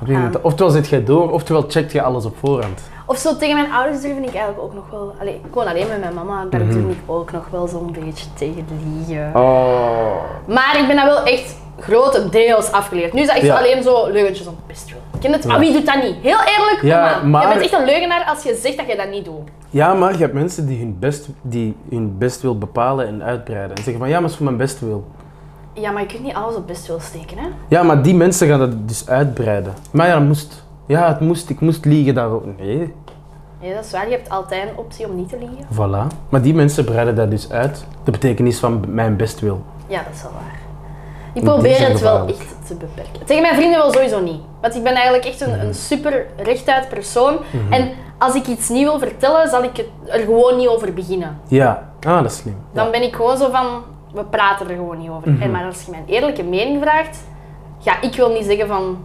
S1: Op die
S2: Ah.
S1: moment- Oftewel zit jij door, oftewel checkt je alles op voorhand.
S2: Of zo tegen mijn ouders durfde ik eigenlijk ook nog wel. Allee, ik woon alleen met mijn mama, daar
S1: Mhm.
S2: durfde ik ook nog wel zo'n beetje tegen liegen.
S1: Oh.
S2: Maar ik ben daar wel echt grotendeels afgeleerd. Nu is dat echt
S1: Ja.
S2: alleen zo leugentjes om pist doen. Ken het?
S1: Ja.
S2: Maar wie doet dat niet? Heel eerlijk,
S1: Ja,
S2: kom aan.
S1: maar-
S2: Je bent echt een leugenaar als je zegt dat je dat niet doet.
S1: Ja, maar je hebt mensen die hun best, die hun best wil bepalen en uitbreiden. En zeggen van ja, maar het is voor mijn best wil.
S2: Ja, maar je kunt niet alles op best wil steken, hè?
S1: Ja, maar die mensen gaan dat dus uitbreiden. Maar ja, dat moest. Ja, het moest. Ik moest liegen daarover. Nee,
S2: Nee, dat is waar. Je hebt altijd een optie om niet te liegen.
S1: voilà. Maar die mensen breiden dat dus uit. De betekenis van mijn best wil.
S2: Ja, dat is wel waar. Ik
S1: Die
S2: probeer
S1: zijn
S2: het wel
S1: gevaarlijk.
S2: echt te beperken. Tegen mijn vrienden wel sowieso niet. Want ik ben eigenlijk echt een,
S1: Mhm.
S2: een super rechtuit persoon. En als ik iets niet wil vertellen, zal ik het er gewoon niet over beginnen.
S1: Ja, ah, dat is slim. Ja. Mhm.
S2: Dan ben ik gewoon zo van, we praten er gewoon niet over. En maar als je mijn eerlijke mening vraagt, ja, ik wil niet zeggen van,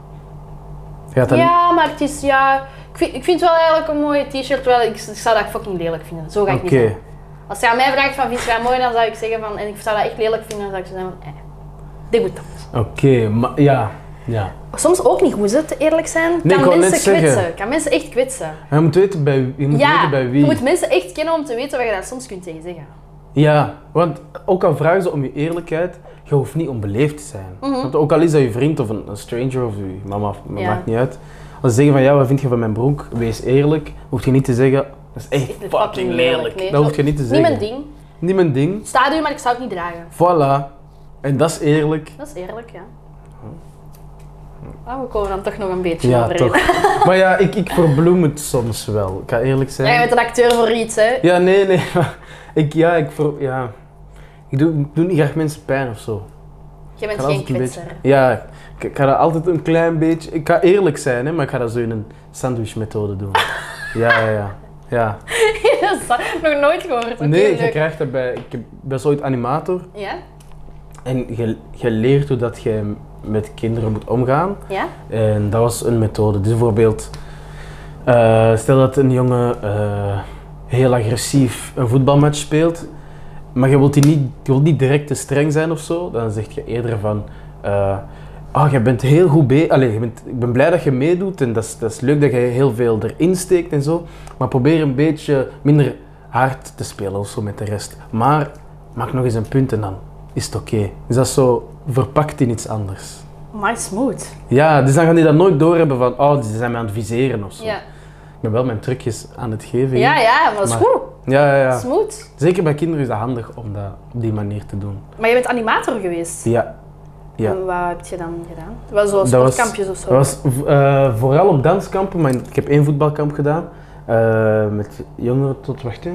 S1: Je gaat dat niet-
S2: ja, maar het is, ja, ik vind, ik vind het wel eigenlijk een mooie t-shirt, terwijl ik, ik zou dat fucking lelijk vinden. Zo ga ik
S1: Oké,
S2: niet zijn. Als jij aan mij vraagt van, vind je dat mooi, dan zou ik zeggen van, en ik zou dat echt lelijk vinden, dan zou ik zo zeggen van, eh, degoutant.
S1: oké, maar ja. ja.
S2: Soms ook niet goed, hè, te eerlijk zijn.
S1: ik
S2: kan
S1: wou net
S2: mensen
S1: zeggen.
S2: kwetsen. Kan mensen echt kwetsen.
S1: Maar je moet weten bij, je moet weten bij wie.
S2: je moet mensen echt kennen om te weten wat je daar soms kunt tegen zeggen.
S1: Ja, want ook al vragen ze om je eerlijkheid, je hoeft niet onbeleefd te zijn. Want ook al is dat je vriend of een, een stranger of je mama, of-
S2: Mhm. Ja.
S1: maakt niet uit. Als ze zeggen van ja, wat vind je van mijn broek? Wees eerlijk, hoef je niet te zeggen, dat is echt
S2: Echt
S1: fucking, lelijk.
S2: nee.
S1: Dat hoef je niet te zeggen.
S2: Niet mijn ding.
S1: Niet mijn ding.
S2: Het staat u, maar ik zou het niet dragen.
S1: Voilà. En dat is eerlijk.
S2: Dat is eerlijk, ja. Ah, we komen dan toch nog een beetje
S1: Ja,
S2: overeen.
S1: toch. maar ja, ik, ik verbloem het soms wel. Ik ga eerlijk zijn.
S2: Jij bent een acteur voor iets, hè.
S1: Ja, nee, nee. maar Ik, ja, ik, ver, ja. ik, doe, ik doe niet graag mensen pijn of zo.
S2: Jij
S1: Ik
S2: bent
S1: ga
S2: geen
S1: altijd een beetje,
S2: kwetser.
S1: ja, ik, ik ga dat altijd een klein beetje. Ik ga eerlijk zijn, hè, maar ik ga dat zo in een sandwichmethode doen. ja, ja, ja. ja.
S2: dat heb ik nog nooit gehoord. Oké,
S1: nee, je
S2: leuk.
S1: krijgt dat bij. Ik heb- ben zo ooit animator
S2: Ja?
S1: en je, je leert hoe dat je met kinderen moet omgaan.
S2: Ja?
S1: En dat was een methode. Dus bijvoorbeeld, eh, stel dat een jongen eh, heel agressief een voetbalmatch speelt, maar je wilt, die niet, je wilt niet direct te streng zijn of zo, dan zeg je eerder van. eh, Ah, je bent heel goed bezig. Allee, je bent, ik ben blij dat je meedoet en dat is, dat is leuk dat je heel veel erin steekt en zo. Maar probeer een beetje minder hard te spelen of zo met de rest. Maar maak nog eens een punt en dan is het oké. Dus dat is zo verpakt in iets anders.
S2: My smooth.
S1: Ja, dus dan gaan die dat nooit doorhebben van, oh, ze zijn me aan het viseren of zo.
S2: Ja,
S1: Ik ben wel mijn trucjes aan het geven.
S2: ja,
S1: hier.
S2: ja maar dat is
S1: Maar-
S2: goed.
S1: ja, ja, ja.
S2: Smooth.
S1: Zeker bij kinderen is dat handig om dat op die manier te doen.
S2: Maar je bent animator geweest.
S1: Ja. Ja.
S2: En wat heb je dan gedaan? Was zoals
S1: Dat was-
S2: sportkampjes of zo?
S1: Dat was eh, vooral op danskampen, maar ik heb één voetbalkamp gedaan. eh, met jongeren tot, wacht, hè,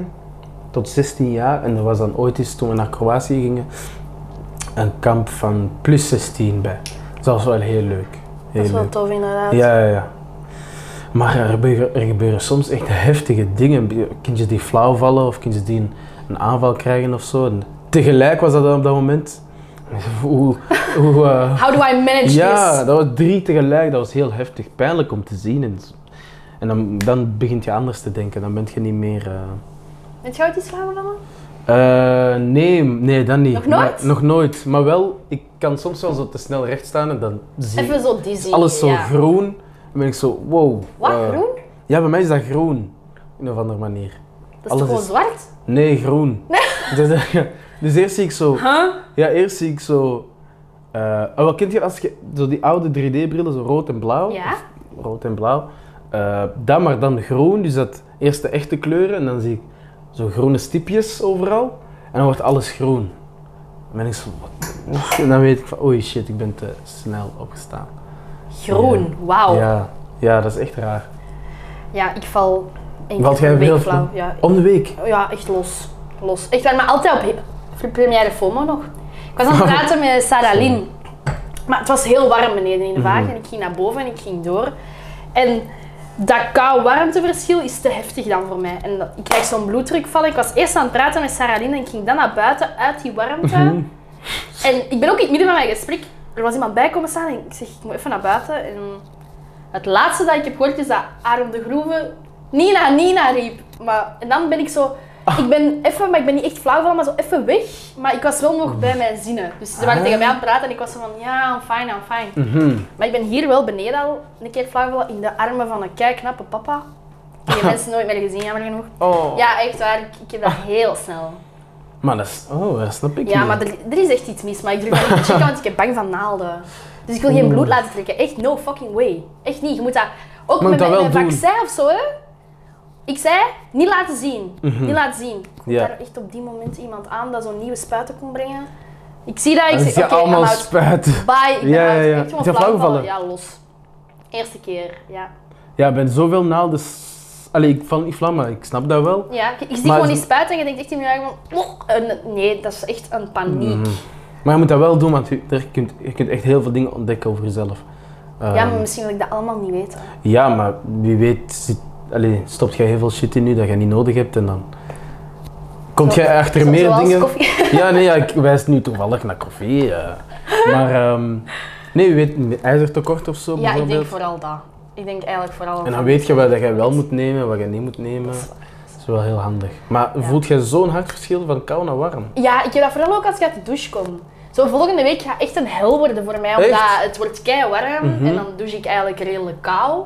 S1: tot 16 jaar. En er was dan ooit eens, toen we naar Kroatië gingen, een kamp van plus 16 bij. Dus dat was wel heel leuk. Heel
S2: Dat is wel
S1: leuk.
S2: tof inderdaad.
S1: Ja, ja, ja. Maar er gebeuren, er gebeuren soms echt heftige dingen. Kindjes die flauw vallen of kindjes die een, een aanval krijgen of zo. En tegelijk was dat dan op dat moment. Hoe, hoe, eh,
S2: How do I manage
S1: ja,
S2: this?
S1: dat was drie tegelijk. Dat was heel heftig, pijnlijk om te zien. En, en dan, dan begint je anders te denken. Dan ben je niet meer. eh,
S2: Bent jij ooit iets flauw gevallen?
S1: eh, nee, nee, dat niet.
S2: Nog nooit?
S1: Maar, nog nooit. Maar wel, ik kan soms wel zo te snel recht staan en dan zie ik
S2: Even zo dizzy.
S1: alles zo
S2: ja.
S1: groen. Dan ben ik zo, wow.
S2: Wat,
S1: eh,
S2: groen?
S1: Ja, bij mij is dat groen. Op een of andere manier.
S2: Dat is
S1: alles
S2: toch gewoon
S1: is-
S2: zwart?
S1: Nee, groen. dus, eh, dus eerst zie ik zo...
S2: Huh?
S1: Ja, eerst zie ik zo... eh oh, wat kent je als je... Zo die oude 3D-brillen, zo rood en blauw.
S2: Ja.
S1: Of Rood en blauw. Eh dat, maar dan groen. Dus dat eerst de echte kleuren. En dan zie ik zo groene stipjes overal. En dan wordt alles groen. Dan ben ik zo... wat- En dan weet ik van... Oei, shit, ik ben te snel opgestaan.
S2: Groen, wauw. Ja.
S1: Ja, ja, dat is echt raar.
S2: ik val één
S1: Valt
S2: keer
S1: jij
S2: per week
S1: veel
S2: flauw. Ja.
S1: Om de week.
S2: ja, echt los. Los. Echt waar, maar altijd op he- première FOMO nog. Ik was aan het praten met Sarah Lynn. Maar het was heel warm beneden in de wagen. En
S1: Mhm.
S2: ik ging naar boven en ik ging door. En dat kou-warmteverschil is te heftig dan voor mij. En dat- ik krijg zo'n bloeddrukval. Ik was eerst aan het praten met Sarah Lynn en ik ging dan naar buiten uit die warmte.
S1: Mhm.
S2: En ik ben ook in het midden van mijn gesprek. Er was iemand bij komen staan en ik zeg, ik moet even naar buiten. En het laatste dat ik heb gehoord is dat Aram de Groeve Nina, Nina riep. Maar, en dan ben ik zo... Ik ben even, maar ik ben niet echt flauw van, maar zo even weg. Maar ik was wel nog bij mijn zinnen. Dus ze waren
S1: Ah.
S2: tegen mij aan het praten en ik was zo van, ja, I'm fine, I'm fine. Maar ik ben hier wel beneden al een keer flauwgevallen in de armen van een kei knappe papa. Die mensen nooit meer gezien, jammer genoeg.
S1: Oh.
S2: Ja, echt waar. Ik, ik heb dat heel snel.
S1: Maar dat is... Oh, dat snap ik
S2: Ja,
S1: niet.
S2: maar er, er is echt iets mis. Maar ik durf dat niet te checken, want ik heb bang van naalden. Dus ik wil geen bloed laten trekken. Echt, no fucking way. Echt niet. Je moet dat... Ook
S1: moet
S2: met
S1: dat
S2: mijn,
S1: wel
S2: mijn
S1: doen.
S2: vaccin of zo, hè. Ik zei, niet laten zien. Niet laten zien. Ik hoop
S1: Mhm. Ja.
S2: daar echt op die moment iemand aan dat zo'n nieuwe spuiten kon brengen. Ik zie dat, ik
S1: Dat is
S2: zeg,
S1: ja
S2: oké, I'm
S1: allemaal
S2: out.
S1: spuiten.
S2: Bye, ik ben
S1: Ja,
S2: uit.
S1: ja, ja.
S2: Ik gewoon
S1: Is dat
S2: flauw
S1: flauwgevallen?
S2: vallen. Ja, los. Eerste keer, ja.
S1: Ja, bij zoveel naalden... s- Allee, ik val niet vlam, maar ik snap dat wel.
S2: Ja, je, je ziet
S1: Maar
S2: gewoon
S1: is-
S2: die spuit en je denkt echt in je eigen van... "Oh, een- nee, dat is echt een paniek.
S1: Mhm. Maar je moet dat wel doen, want je, er kunt, je kunt echt heel veel dingen ontdekken over jezelf. Ehm,
S2: Ja, maar misschien wil ik dat allemaal niet weten.
S1: ja, maar wie weet zit, allee, stopt jij heel veel shit in nu dat je niet nodig hebt en dan... Komt
S2: Zo-
S1: jij achter
S2: zo-
S1: meer
S2: zoals
S1: dingen...
S2: koffie.
S1: Ja, nee, ja, ik wijs nu toevallig naar koffie. ja. Maar ehm, nee, je weet ijzertekort of zo
S2: Ja, ik denk
S1: bijvoorbeeld.
S2: vooral dat. Ik denk eigenlijk vooral
S1: En dan
S2: dat.
S1: weet je wat dat jij wel moet nemen en wat je niet moet nemen. Dat is wel heel handig. Maar voelt jij zo'n hard verschil van kou naar warm?
S2: Ja, ik heb dat vooral ook als ik uit de douche kom. Zo volgende week gaat echt een hel worden voor mij, omdat
S1: Echt? Mhm.
S2: het wordt kei warm en dan douche ik eigenlijk redelijk kou.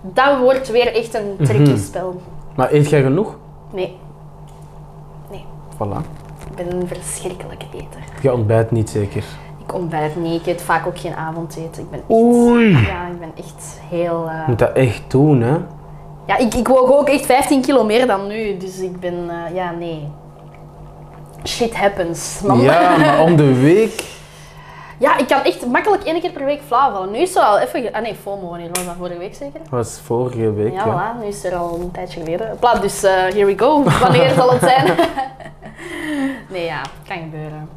S2: Dat wordt weer echt een
S1: Mhm.
S2: tricky spel.
S1: Maar eet jij genoeg?
S2: Nee. Nee,
S1: Voilà.
S2: ik ben een verschrikkelijke eter.
S1: Je ontbijt niet zeker.
S2: Ik ontbijt niet, ik eet vaak ook geen avondeten. Ik ben echt,
S1: Oei.
S2: Ja, ik ben echt heel... eh,
S1: Je moet dat echt doen, hè?
S2: Ja, ik, ik woog ook echt 15 kilo meer dan nu, dus ik ben... eh, ja, nee. Shit happens, man.
S1: Ja, maar om de week.
S2: Ja, ik kan echt makkelijk één keer per week flauw vallen. Nu is het al even... ge- Ah nee, FOMO, wanneer was dat? Vorige week zeker?
S1: was vorige week.
S2: Ja,
S1: ja.
S2: voilà, nu is het er al een tijdje geleden. Pla, dus eh, here we go. Wanneer zal het zijn? nee, ja, kan gebeuren.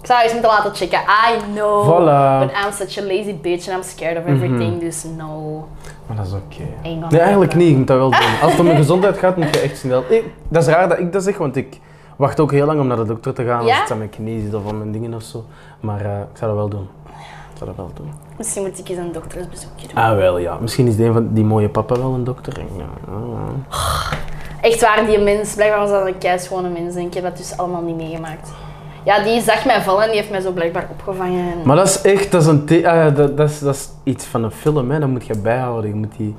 S2: Ik zou eens moeten laten checken. I know.
S1: Voilà.
S2: But I'm such a lazy bitch and I'm scared of everything, dus no.
S1: Maar dat is oké.
S2: Ain't gonna
S1: Nee, eigenlijk
S2: happen.
S1: niet. Ik moet dat wel doen. Als het om je gezondheid gaat, moet je echt snel. Ik- dat is raar dat ik dat zeg, want ik wacht ook heel lang om naar de dokter te gaan. Als
S2: Ja?
S1: het aan mijn knie zit of aan mijn dingen of zo. Maar eh, ik zou dat wel doen. Ik zou dat wel doen.
S2: Misschien moet ik eens een doktersbezoekje doen.
S1: Ah, wel ja. Misschien is de een van die mooie papa wel een dokter. Ja, ja, ja.
S2: Echt waar, die mens, blijkbaar was dat een keischone mens en ik heb dat dus allemaal niet meegemaakt. Ja, die zag mij vallen en die heeft mij zo blijkbaar opgevangen. en-
S1: Maar dat is echt, dat is, een the- ah, dat, dat, is, dat is iets van een film, hè. Dat moet je bijhouden. Je moet die...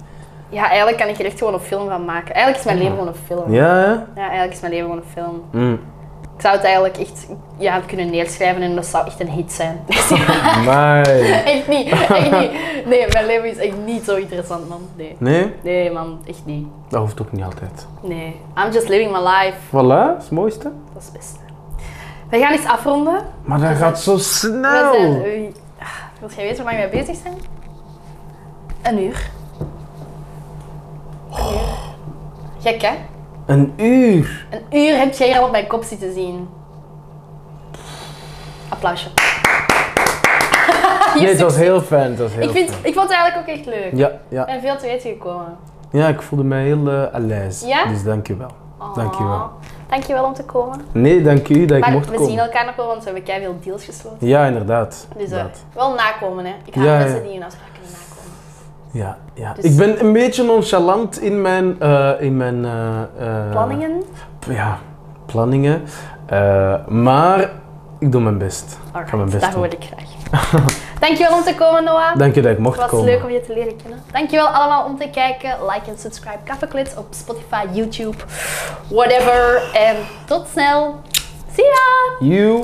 S2: Ja, eigenlijk kan ik er echt gewoon een film van maken. Eigenlijk is mijn leven gewoon een film.
S1: Ja, hè?
S2: Ja, eigenlijk is mijn leven gewoon een film.
S1: Mm.
S2: Ik zou het eigenlijk echt ja, kunnen neerschrijven en dat zou echt een hit zijn.
S1: Amai.
S2: echt niet, echt niet. Nee, mijn leven is echt niet zo interessant, man. Nee,
S1: Nee,
S2: nee man, echt niet.
S1: dat hoeft ook niet altijd.
S2: Nee, I'm just living my life.
S1: Voilà, dat is het mooiste.
S2: Dat is het beste. We gaan eens afronden.
S1: Maar dat gaat zo
S2: We zijn...
S1: snel.
S2: eh, ah, Wilt jij weten hoe lang wij bezig zijn? Een uur. Een uur.
S1: Oh.
S2: Gek, hè?
S1: Een uur.
S2: Een uur heb jij hier al op mijn kop zitten zien. Applausje.
S1: Nee, het was heel fijn. Het was heel
S2: ik, vind,
S1: fijn.
S2: ik vond het eigenlijk ook echt leuk.
S1: Ja,
S2: Ik
S1: ja.
S2: ben veel te weten gekomen.
S1: ja, ik voelde mij heel eh alijs.
S2: Ja?
S1: Dus dank je wel. Dank je wel.
S2: Dank je wel Oh. om te komen.
S1: Nee, dank u dat ik
S2: maar
S1: mocht
S2: we
S1: komen.
S2: zien elkaar nog wel, want we hebben keiveel deals gesloten.
S1: Ja, inderdaad.
S2: Dus eh,
S1: inderdaad.
S2: wel nakomen, hè. Ik haat
S1: Ja, ja.
S2: mensen die hun afspraken niet nakomen.
S1: Ja, ja.
S2: dus-
S1: Ik ben een beetje nonchalant in mijn... eh, in mijn eh, eh,
S2: Planningen?
S1: p- Ja, planningen. Eh, maar ik doe mijn best. Ik ga mijn
S2: Alright,
S1: best
S2: dat
S1: doen.
S2: hoor ik graag. Dankjewel om te komen, Noah.
S1: Dank je dat ik mocht
S2: Het was
S1: komen.
S2: leuk om je te leren kennen. Dankjewel allemaal om te kijken. Like en subscribe Kaffeeklits op Spotify, YouTube, whatever. En tot snel. See ya!
S1: You